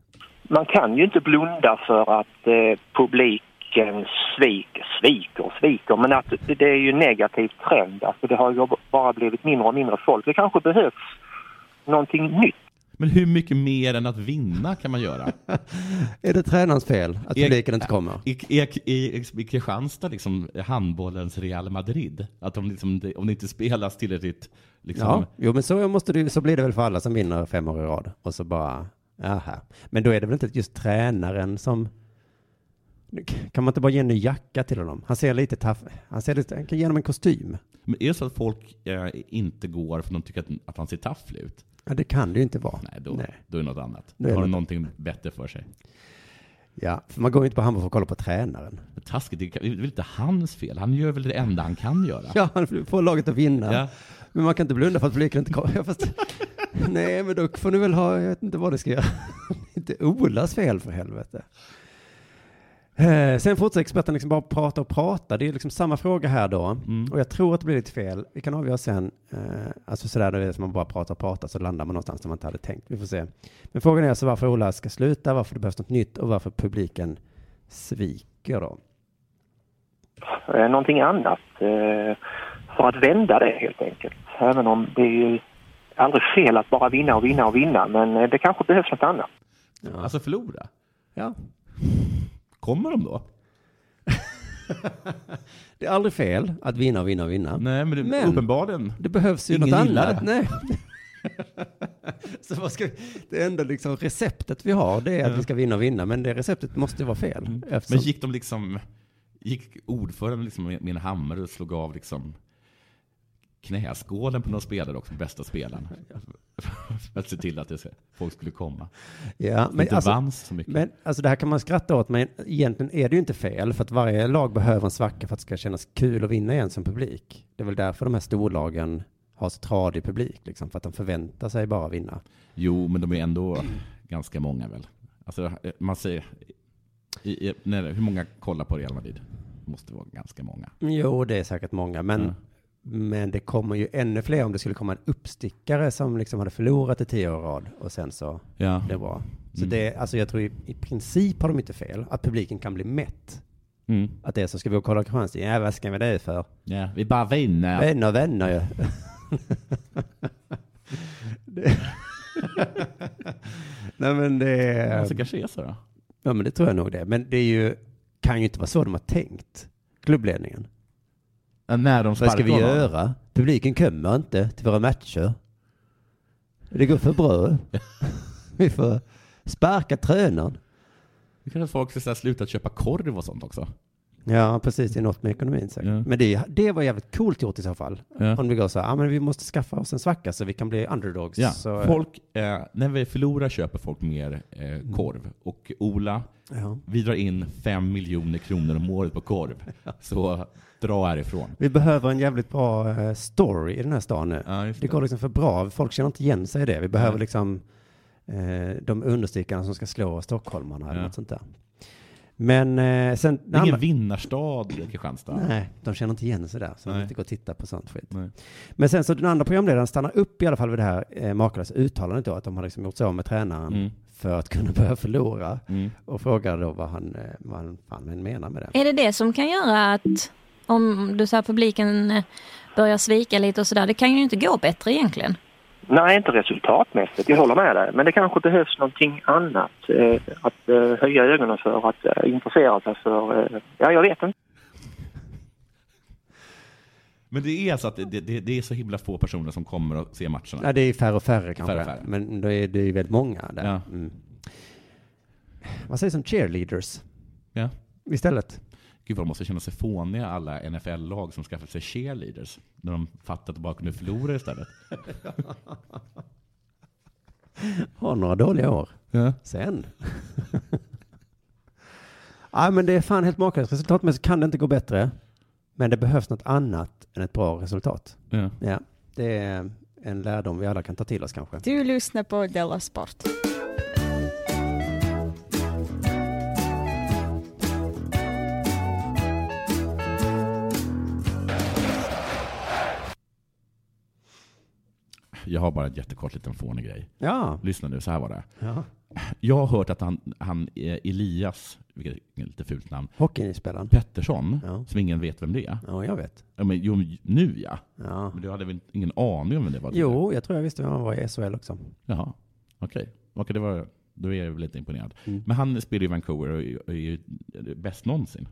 K: man kan ju inte blunda för att eh, publiken sviker, sviker och sviker. Men att det, det är ju en negativ trend. Alltså det har ju bara blivit mindre och mindre folk. Det kanske behövs någonting nytt.
H: Men hur mycket mer än att vinna kan man göra?
G: Är det tränarens fel att
H: Är-
G: publiken inte kommer?
H: I, i, i, I Kristianstad liksom, är handbollens Real Madrid. Att om, liksom, det, om det inte spelas tillräckligt liksom,
G: Ja, jo, men så, måste du, så blir det väl för alla som vinner fem år i rad. Och så bara, aha. Men då är det väl inte just tränaren som... Kan man inte bara ge en ny jacka till honom? Han ser lite taff... Han ser lite... Han kan ge honom en kostym.
H: Men är det så att folk eh, inte går för att de tycker att, att han ser tafflig ut?
G: Ja, det kan det ju inte vara.
H: Nej, då, då är det något annat.
G: Då
H: Då
G: är det
H: har de
G: något-
H: någonting bättre för sig.
G: Ja, för man går ju inte på handboll för att kolla på tränaren.
H: Men taskigt, det kan- det är väl inte hans fel? Han gör väl det enda han kan göra?
G: Ja, han får laget att vinna.
H: Ja.
G: Men man kan inte blunda för att publiken inte kommer. Ja, fast... Nej, men då får ni väl ha... Jag vet inte vad det ska göra. Det är inte Olas fel för helvete. Eh, Sen fortsätter experten liksom bara prata och prata. Det är liksom samma fråga här då. Och jag tror att det blir lite fel. Vi kan avgöra sen. Eh, Alltså sådär, det är som man bara pratar och pratar så landar man någonstans där man inte hade tänkt. Vi får se. Men frågan är alltså varför Ola ska sluta, varför det behövs något nytt och varför publiken sviker då.
K: eh, någonting annat eh, för att vända det helt enkelt. Även om det är ju aldrig fel att bara vinna och vinna och vinna men eh, det kanske behövs något annat.
H: Alltså förlora?
G: Ja.
H: Kommer de då?
G: Det är aldrig fel att vinna och vinna och vinna.
H: Nej, men, det, uppenbarligen.
G: Det behövs ju
H: Ingen
G: något
H: gillar
G: annat.
H: det.
G: Nej. Så vad ska vi, det enda liksom receptet vi har det är att
H: Ja.
G: vi ska vinna och vinna, men det receptet måste ju vara fel. eftersom-
H: Men gick de liksom... Gick ordföranden liksom med med en hammare och slog av liksom knäskålen på någon spelare också, bästa spelaren. För att se till att det, ska- folk skulle komma.
G: Ja, men
H: inte
G: alltså-
H: vanns så mycket.
G: Men alltså det här kan man skratta åt, men egentligen är det ju inte fel, för att varje lag behöver en svacka för att det ska kännas kul att vinna igen som publik. Det är väl därför de här storlagen har så tradig publik, liksom, för att de förväntar sig bara vinna.
H: Jo, men de är ändå ganska många väl? Alltså, eh, man säger... I, i, nej, hur många kollar på Real Madrid? Det måste vara ganska många.
G: Mm, Jo, det är säkert många, men,
H: Ja.
G: men det kommer ju ännu fler om det skulle komma en uppstickare som liksom hade förlorat i tio år i rad och sen så
H: Ja.
G: blev bra. Så
H: Mm.
G: det, alltså jag tror i, i princip har de inte fel, att publiken kan bli mätt.
H: Mm.
G: Att det är så, ska vi gå och kolla Kristianstad? Ja, vad ska vi det för?
H: Ja, vi bara vinner.
G: Vänner, vänner ju. det... Nej men det...
H: Alltså, kanske är så då.
G: Ja men det tror jag nog det. Men det är ju, kan ju inte vara så de har tänkt, klubbledningen.
H: när de
G: Vad ska vi
H: sparkar honom?
G: göra? Publiken kommer inte till våra matcher. Det går för bra. vi får sparka tränaren.
H: Det kanske folk ska så här sluta köpa korv och sånt också.
G: Ja, precis. Det är något med ekonomin säkert. Men det, det var jävligt coolt gjort i så fall.
H: Ja.
G: Om vi går så här, ah, men vi måste skaffa oss en svacka så vi kan bli underdogs.
H: Ja.
G: Så,
H: Folk, eh, när vi förlorar köper folk mer eh, korv. Och Ola,
G: Ja.
H: vi drar in fem miljoner kronor om året på korv. Så dra härifrån.
G: Vi behöver en jävligt bra eh, story i den här stan nu. det.
H: det.
G: går liksom för bra. Folk känner inte igen sig i det. Vi behöver
H: Nej.
G: liksom eh, de understickarna som ska slå stockholmarna eller
H: Ja.
G: något sånt där. Men eh, sen...
H: Det är ingen vinnarstad Kristianstad.
G: Nej, de känner inte igen sig där, så de
H: Nej.
G: inte går och tittar på sånt skit.
H: Nej.
G: Men sen så den andra programledaren stannar upp i alla fall vid det här eh, makalösa uttalandet då, att de har liksom gjort sig av med tränaren
H: Mm.
G: för att kunna börja förlora.
H: Mm.
G: Och frågar då vad han, eh, vad han fan menar med det.
M: Är det det som kan göra att om du så här, publiken eh, börjar svika lite och sådär, det kan ju inte gå bättre egentligen.
K: Nej, inte resultatmässigt. Jag håller med dig. Men det kanske behövs någonting annat eh, att eh, höja ögonen för, att eh, intressera sig för. Eh, ja, jag vet inte.
H: Men det är så att det, det, det är så himla få personer som kommer och ser matcherna.
G: Ja, det är färre och färre kanske,
H: Färre och färre.
G: men då är det ju väldigt många där. Mm. Vad sägs om cheerleaders
H: Ja.
G: istället?
H: Gud vad de måste känna sig fåniga alla NFL-lag som skaffat sig cheerleaders. När de fattat att de bara kunde förlora istället.
G: Har några dåliga år. Sen. Ja, men det är fan helt makalöst. Resultatmässigt kan det inte gå bättre. Men det behövs något annat än ett bra resultat.
H: Ja.
G: Ja, det är en lärdom vi alla kan ta till oss kanske.
N: Du lyssnar på Della Sport.
H: Jag har bara en jättekort liten fånig grej.
G: Ja.
H: Lyssna nu, så här var det.
G: Ja.
H: Jag har hört att han, han eh, Elias, vilket är ett lite fult namn,
G: Hockeyspelaren.
H: Pettersson, som ingen vet vem det är.
G: Ja, jag vet.
H: Ja, men, jo, nu ja.
G: ja.
H: Men du hade väl ingen aning om vem det var?
G: Jo, jag tror jag visste vem han var i SHL också.
H: Jaha, okej. Okej, det var, då är jag väl lite imponerad.
G: Mm.
H: Men han spelar i Vancouver och är, och är ju bäst någonsin.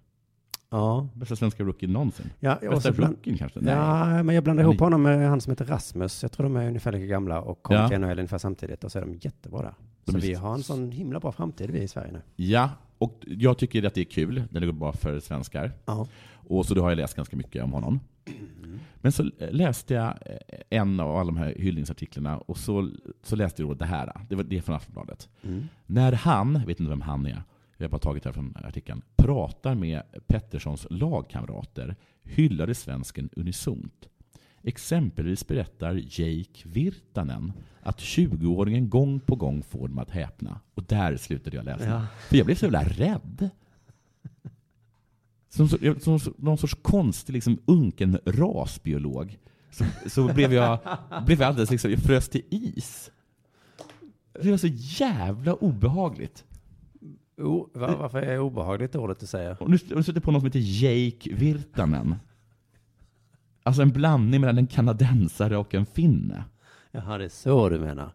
G: Ja.
H: Bästa svenska rookien någonsin.
G: Ja, jag
H: Bästa
G: också bland-
H: rookien kanske?
G: Ja, men jag blandar ihop
H: Han
G: honom med han som heter Rasmus. Jag tror de är ungefär lika gamla och kom
H: Ja.
G: till NHL ungefär samtidigt och så är de jättebra där.
H: De
G: Så
H: är
G: vi
H: st-
G: har en sån himla bra framtid vi i Sverige nu.
H: Ja, och jag tycker att det är kul när det går bra för svenskar. Och så då har jag läst ganska mycket om honom.
G: Mm.
H: Men så läste jag eh, en av alla de här hyllningsartiklarna och så, så läste jag då det här. Det var det är från Aftonbladet.
O: Mm.
H: När han, jag vet inte vem han är, jag har bara tagit det här från artikeln, pratar med Petterssons lagkamrater hyllade svensken unisont. Exempelvis berättar Jake Virtanen att 20-åringen gång på gång får dem att häpna. Och där slutade jag läsa.
G: Ja.
H: För jag blev så jävla rädd. Som, så- jag- som, som någon sorts konstig liksom, unken rasbiolog så, så blev jag, blev jag alldeles liksom, jag frös till is. Det var så jävla obehagligt.
G: O, va, varför är obehagligt ordet du säger?
H: Och nu och nu sätter jag på någon som heter Jake Virtanen. Alltså en blandning mellan en kanadensare och en finne.
G: Jaha, det är så du menar.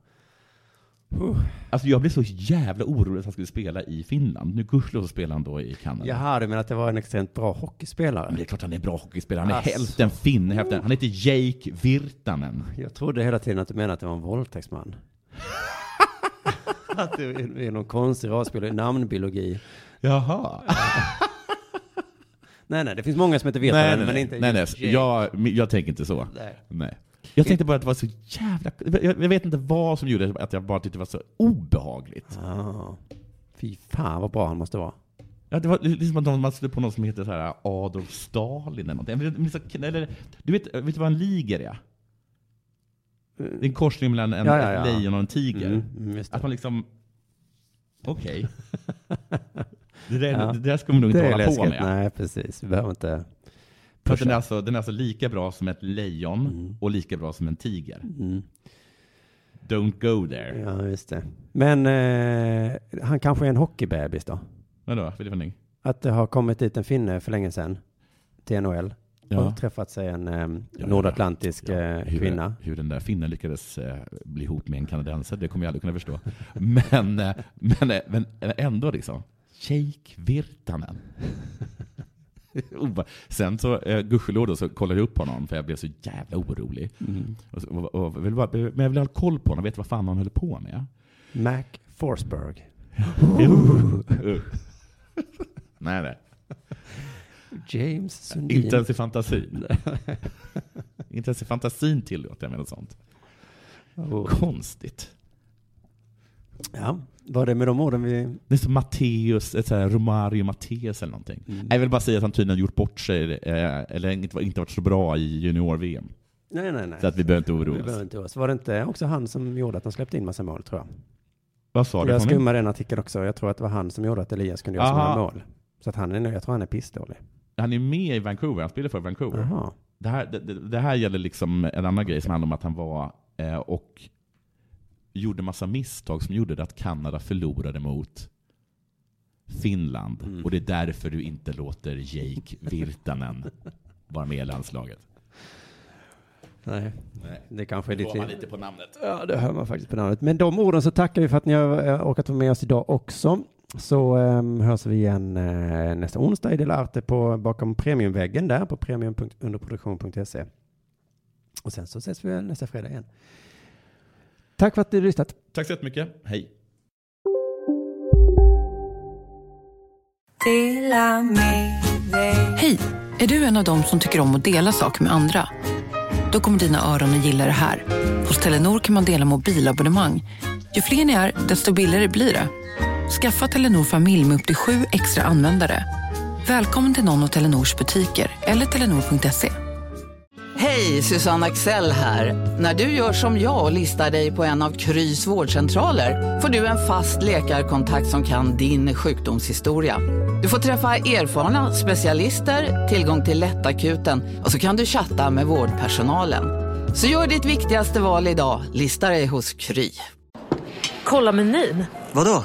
G: Huh.
H: Alltså jag blev så jävla orolig att han skulle spela i Finland. Nu gudskelov så spelar han då i Kanada.
G: Jaha, du menar att det var en extremt bra hockeyspelare?
H: Men det är klart han är en bra hockeyspelare. Han är
G: Alltså.
H: hälften finne, hälften... Han heter Jake Virtanen.
G: Jag trodde hela tiden att du menade att det var en våldtäktsman. att det är är någon konstig rasbiologi, namnbiologi.
H: Jaha.
G: nej, nej, det finns många som heter Virtanen, men inte
H: nej, nej.
G: just Jake.
H: Jag, jag tänker inte så.
G: Nej.
H: Jag tänkte bara att det var så jävla... Jag, jag vet inte vad som gjorde att jag bara tyckte det var så obehagligt.
G: Ah. Fy fan vad bra han måste vara.
H: Ja, det var liksom att någon- man skulle på någon som heter så här Adolf Stalin eller någonting. Men det- men Eller, du vet, vet du vad en liger är? Det är en korsning mellan en
G: Ja, ja, ja.
H: ett lejon och en tiger.
G: Mm, mm, just
H: att man liksom... Okej. det, där,
G: Ja.
H: det där ska man nog inte
G: Det är
H: hålla på
G: läskigt.
H: med.
G: Nej, precis. Vi behöver inte...
H: För att den, är Mm. alltså, den är alltså lika bra som ett lejon och lika bra som en tiger. Don't go there.
G: Mm. Ja, just det. Men eh, han kanske är en hockeybebis då?
H: Vadå, för det var ni?
G: Att det har kommit dit en finne för länge sedan till NHL
H: Ja.
G: och träffat sig en eh, nordatlantisk eh,
H: hur,
G: kvinna.
H: Hur den där finnen lyckades eh, bli ihop med en kanadensare, det kommer jag aldrig kunna förstå. Men, eh, men, eh, men ändå liksom. Shake Virtanen. Oba- Sen så, eh, gudskelov då, så kollade jag upp honom för jag blev så jävla orolig.
G: Mm.
H: Och, så- och, och, vill bara, men jag vill ha koll på honom, vet vad fan han höll på med.
G: Mac Forsberg.
H: nej, nej.
G: James Sundin.
H: Inte ens i fantasin. Inte ens i fantasin tillåter jag mig något sånt. Konstigt.
G: Ja, var det med de orden vi...
H: Det är som Matteus, ett så här Romario Matteus eller någonting.
G: Mm.
H: Jag vill bara säga att han tydligen gjort bort sig, eh, eller inte, inte varit så bra i junior-VM.
G: Nej, nej, nej.
H: Så att vi behöver inte
G: Vi
H: oroa
G: behöver
H: oss.
G: inte oroa oss. Var det inte också han som gjorde att de släppte in massa mål, tror jag?
H: Vad sa du?
G: jag
H: för honom?
G: skummade en artikel också. Jag tror att det var han som gjorde att Elias kunde göra så
H: Aha.
G: många mål. Så att han är, jag tror han är pissdålig.
H: Han är med i Vancouver, han spelar för Vancouver.
G: Jaha.
H: Det, här, det, det- det här gäller liksom en annan grej som handlar om att han var eh, och gjorde massa misstag som gjorde det att Kanada förlorade mot Finland.
G: Mm.
H: Och det är därför du inte låter Jake Virtanen vara med i landslaget.
G: Nej. Det kanske är
H: Då
G: lite...
H: går man lite på namnet.
G: Ja, det hör man faktiskt på namnet. Men de orden så tackar vi för att ni har eh, orkat vara med oss idag också. Så um, hörs vi igen eh, nästa onsdag i Delarte på bakom premiumväggen där på premium.underproduktion.se. Och sen så ses vi väl nästa fredag igen. Tack för att ni har lyssnat.
H: Tack så jättemycket. Hej.
I: Hej! Är du en av dem som tycker om att dela saker med andra? Då kommer dina öron att gilla det här. Hos Telenor kan man dela mobilabonnemang. Ju fler ni är, desto billigare blir det. Skaffa Telenor familj med upp till sju extra användare. Välkommen till någon av Telenors butiker eller telenor.se.
P: Hej, Susanne Axel här. När du gör som jag och listar dig på en av Krys vårdcentraler får du en fast läkarkontakt som kan din sjukdomshistoria. Du får träffa erfarna specialister, tillgång till lättakuten och så kan du chatta med vårdpersonalen. Så gör ditt viktigaste val idag, lista dig hos Kry.
Q: Kolla menyn.
R: Vadå?